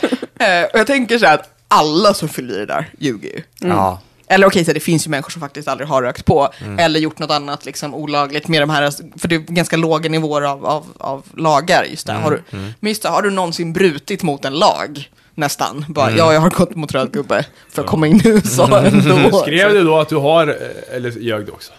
S5: eh, och jag tänker så här att alla som fyller i det där ljuger ju.
S3: Ja.
S5: Eller okej, så det finns ju människor som faktiskt aldrig har rökt på
S4: Mm.
S5: eller gjort något annat liksom, olagligt med de här, för det är ganska låga nivåer av, av, av lagar. Just det.
S4: Mm.
S5: Har du, Men just det, har du någonsin brutit mot en lag? Nästan. Bara,
S4: Mm.
S5: ja, jag har gått mot röd gubbe för att komma in i
S4: <laughs>
S5: USA ändå.
S4: Skrev du då att du har, eh, eller ljög du också?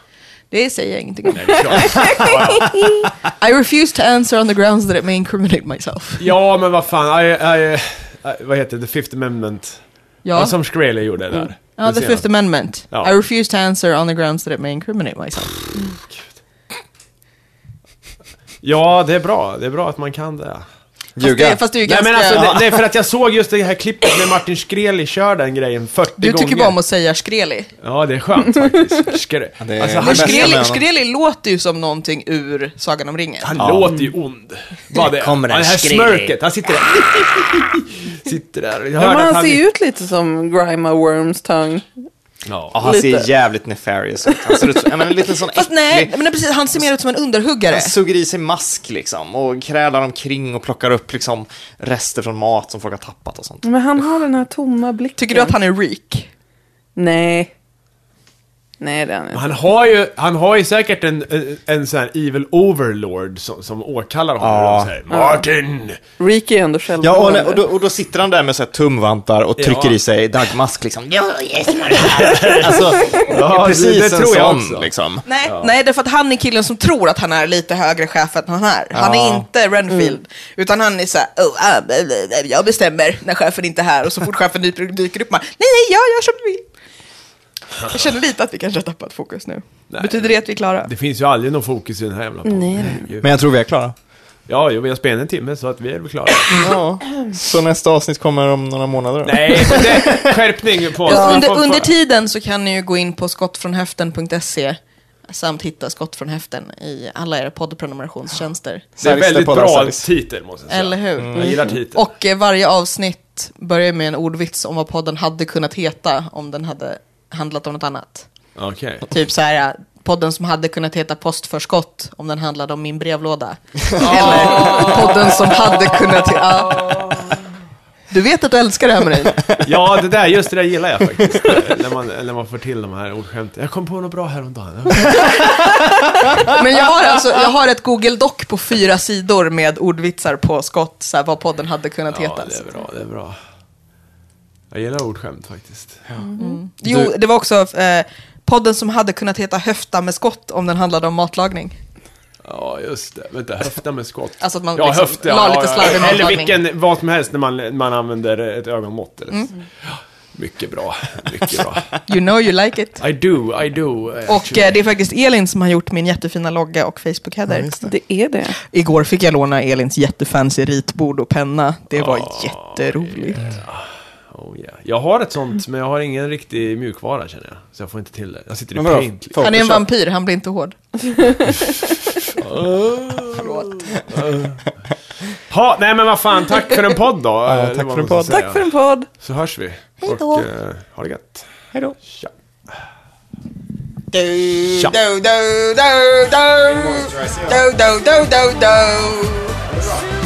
S5: Det säger jag ingenting om.
S4: Nej, det är klart.
S5: I refuse to answer on the grounds that it may incriminate myself.
S4: Ja, men vad fan, I, I, I, vad heter det, The Fifth Amendment? Ja.
S5: Ja,
S4: som Shkreli gjorde där.
S5: ja the
S4: Det
S5: fifth
S4: senaste.
S5: amendment.
S4: Ja.
S5: I refuse to answer on the grounds that it may incriminate myself.
S4: Ja, det är bra. Det är bra att man kan det.
S3: ljuga.
S5: Det, Mm. fast det är ju
S4: Nej
S5: ganska...
S4: men alltså, det, det är för att jag såg just det här klippet när Martin Shkreli kör den grejen 40
S5: du
S4: gånger.
S5: tycker bara om att säga skreli.
S4: Ja, det är skönt faktiskt. Shkreli.
S3: det är-
S4: Alltså,
S5: Men
S4: han,
S3: bästa med
S5: Skreli,
S3: honom.
S5: Skreli låter ju som någonting ur Sagan om ringen.
S4: han
S3: Ja.
S4: låter ju ond. Bara det.
S3: kommer den
S4: Ja, det här
S3: Shkreli.
S4: smörket. Han sitter där. <laughs> sitter där. Jag
S6: Ja,
S4: hörde
S6: men
S4: att
S6: han ser ju ut lite som Grima Worms tongue.
S3: Ja,
S4: Ja.
S3: han ser
S6: lite.
S3: jävligt nefarious ut. Han ser ut som, jag menar, lite sån
S5: Fast nej,
S3: äcklig...
S5: men precis, han ser mer ut som en underhuggare.
S3: Han suger i sig mask liksom och krälar omkring och plockar upp liksom rester från mat som folk har tappat och sånt.
S6: Men han har den här tomma blicken.
S5: Tycker du att han är reek?
S6: Nej. Nej, det är han inte.
S4: Han har ju, han har ju säkert en, en, en sån här evil overlord som, som åkallar honom.
S3: Ja.
S4: Ja. Så här, Martin!
S6: Rick är ändå själv.
S3: Ja, och, när- och, då, och då sitter han där med så här tumvantar och trycker i sig dagmask liksom. Ja, yes, <laughs> alltså, ja, precis
S4: det
S3: en
S4: tror jag
S3: sån
S4: också.
S3: liksom.
S5: Nej, nej, därför att han är killen som tror att han är lite högre chef än han är. Han
S3: Ja. Mm.
S5: är inte Renfield, utan han är såhär, oh, ah, bla, bla, bla, jag bestämmer när chefen inte är här. Och så fort chefen dyker, dyker upp, man, nej, nej, jag gör som du vill. Jag känner lite att vi kanske har tappat fokus nu. Betyder det att vi är klara?
S4: Det finns ju aldrig någon fokus i den här jävla podden. Nej.
S3: Men jag tror vi är klara.
S4: Ja, jo, vi har spelat en timme så att vi är väl
S5: <laughs>
S4: klara.
S3: Ja. Så nästa avsnitt kommer om några månader då?
S4: Nej, men det, skärpning på
S5: Ja, under,
S4: på- på-
S5: under tiden så kan ni ju gå in på skottfrånhäften.se samt hitta Skott från häften i alla era poddprenumerationstjänster.
S4: Det är en väldigt
S3: Poddar,
S4: bra
S3: Salis.
S4: titel måste jag säga. Mm.
S5: Eller hur?
S4: Jag gillar titeln.
S5: Och eh, varje avsnitt börjar med en ordvits om vad podden hade kunnat heta om den hade handlat om något annat.
S4: Okej.
S5: Typ så här, eh, podden som hade kunnat heta Postförskott om den handlade om
S4: <laughs>
S5: min brevlåda. Eller podden som hade kunnat... he- Ja. Du vet att du älskar det här med dig.
S4: Ja, det där, just det där gillar jag
S5: <laughs>
S4: faktiskt. när, man, när man får till de här ordskämten. Jag kom på något bra häromdagen.
S5: Men jag har alltså, jag har ett Google Doc på fyra sidor med ordvitsar på skott, så här, vad podden hade kunnat heta.
S4: Ja, det är bra, det är bra. Jag gillar ordskämt faktiskt.
S5: Mm. Jo, det var också eh, podden som hade kunnat heta Höfta med skott om den handlade om matlagning.
S4: Ja, just det. Vänta, höfta med skott.
S5: Alltså att man
S4: ja,
S5: liksom
S4: höfta,
S5: la lite sladd i
S4: Eller
S5: matlagning.
S4: vilken, vad som helst när man, man använder ett ögonmått. Eller.
S5: Mm.
S4: så. Ja, Mycket bra, mycket bra.
S5: You know you like it.
S4: I do, I do.
S5: Och eh, det är faktiskt Elin som har gjort min jättefina logga och Facebook-header.
S6: Det är det.
S5: Igår fick jag låna Elins jättefancy ritbord och penna. Det var jätteroligt.
S4: Oh, yeah. Jag har ett sånt, men jag har ingen riktig mjukvara känner jag. Så jag får inte till det. Jag sitter i
S3: Men vadå?
S4: paint.
S3: Photoshop?
S5: Han är en vampyr, han blir inte hård.
S4: liksom. <laughs> Ha, nej men vad fan, tack för en podd då.
S3: tack
S4: Det
S3: för
S4: var
S3: en
S4: vad
S3: podd.
S4: jag skulle
S6: Tack för en podd.
S4: Så hörs vi.
S5: Hej då.
S4: Och eh, ha det gött.
S3: Hej då.
S4: Tja.
S5: Do, do, do, do, do. Do, do, do, do, do.
S1: Oh,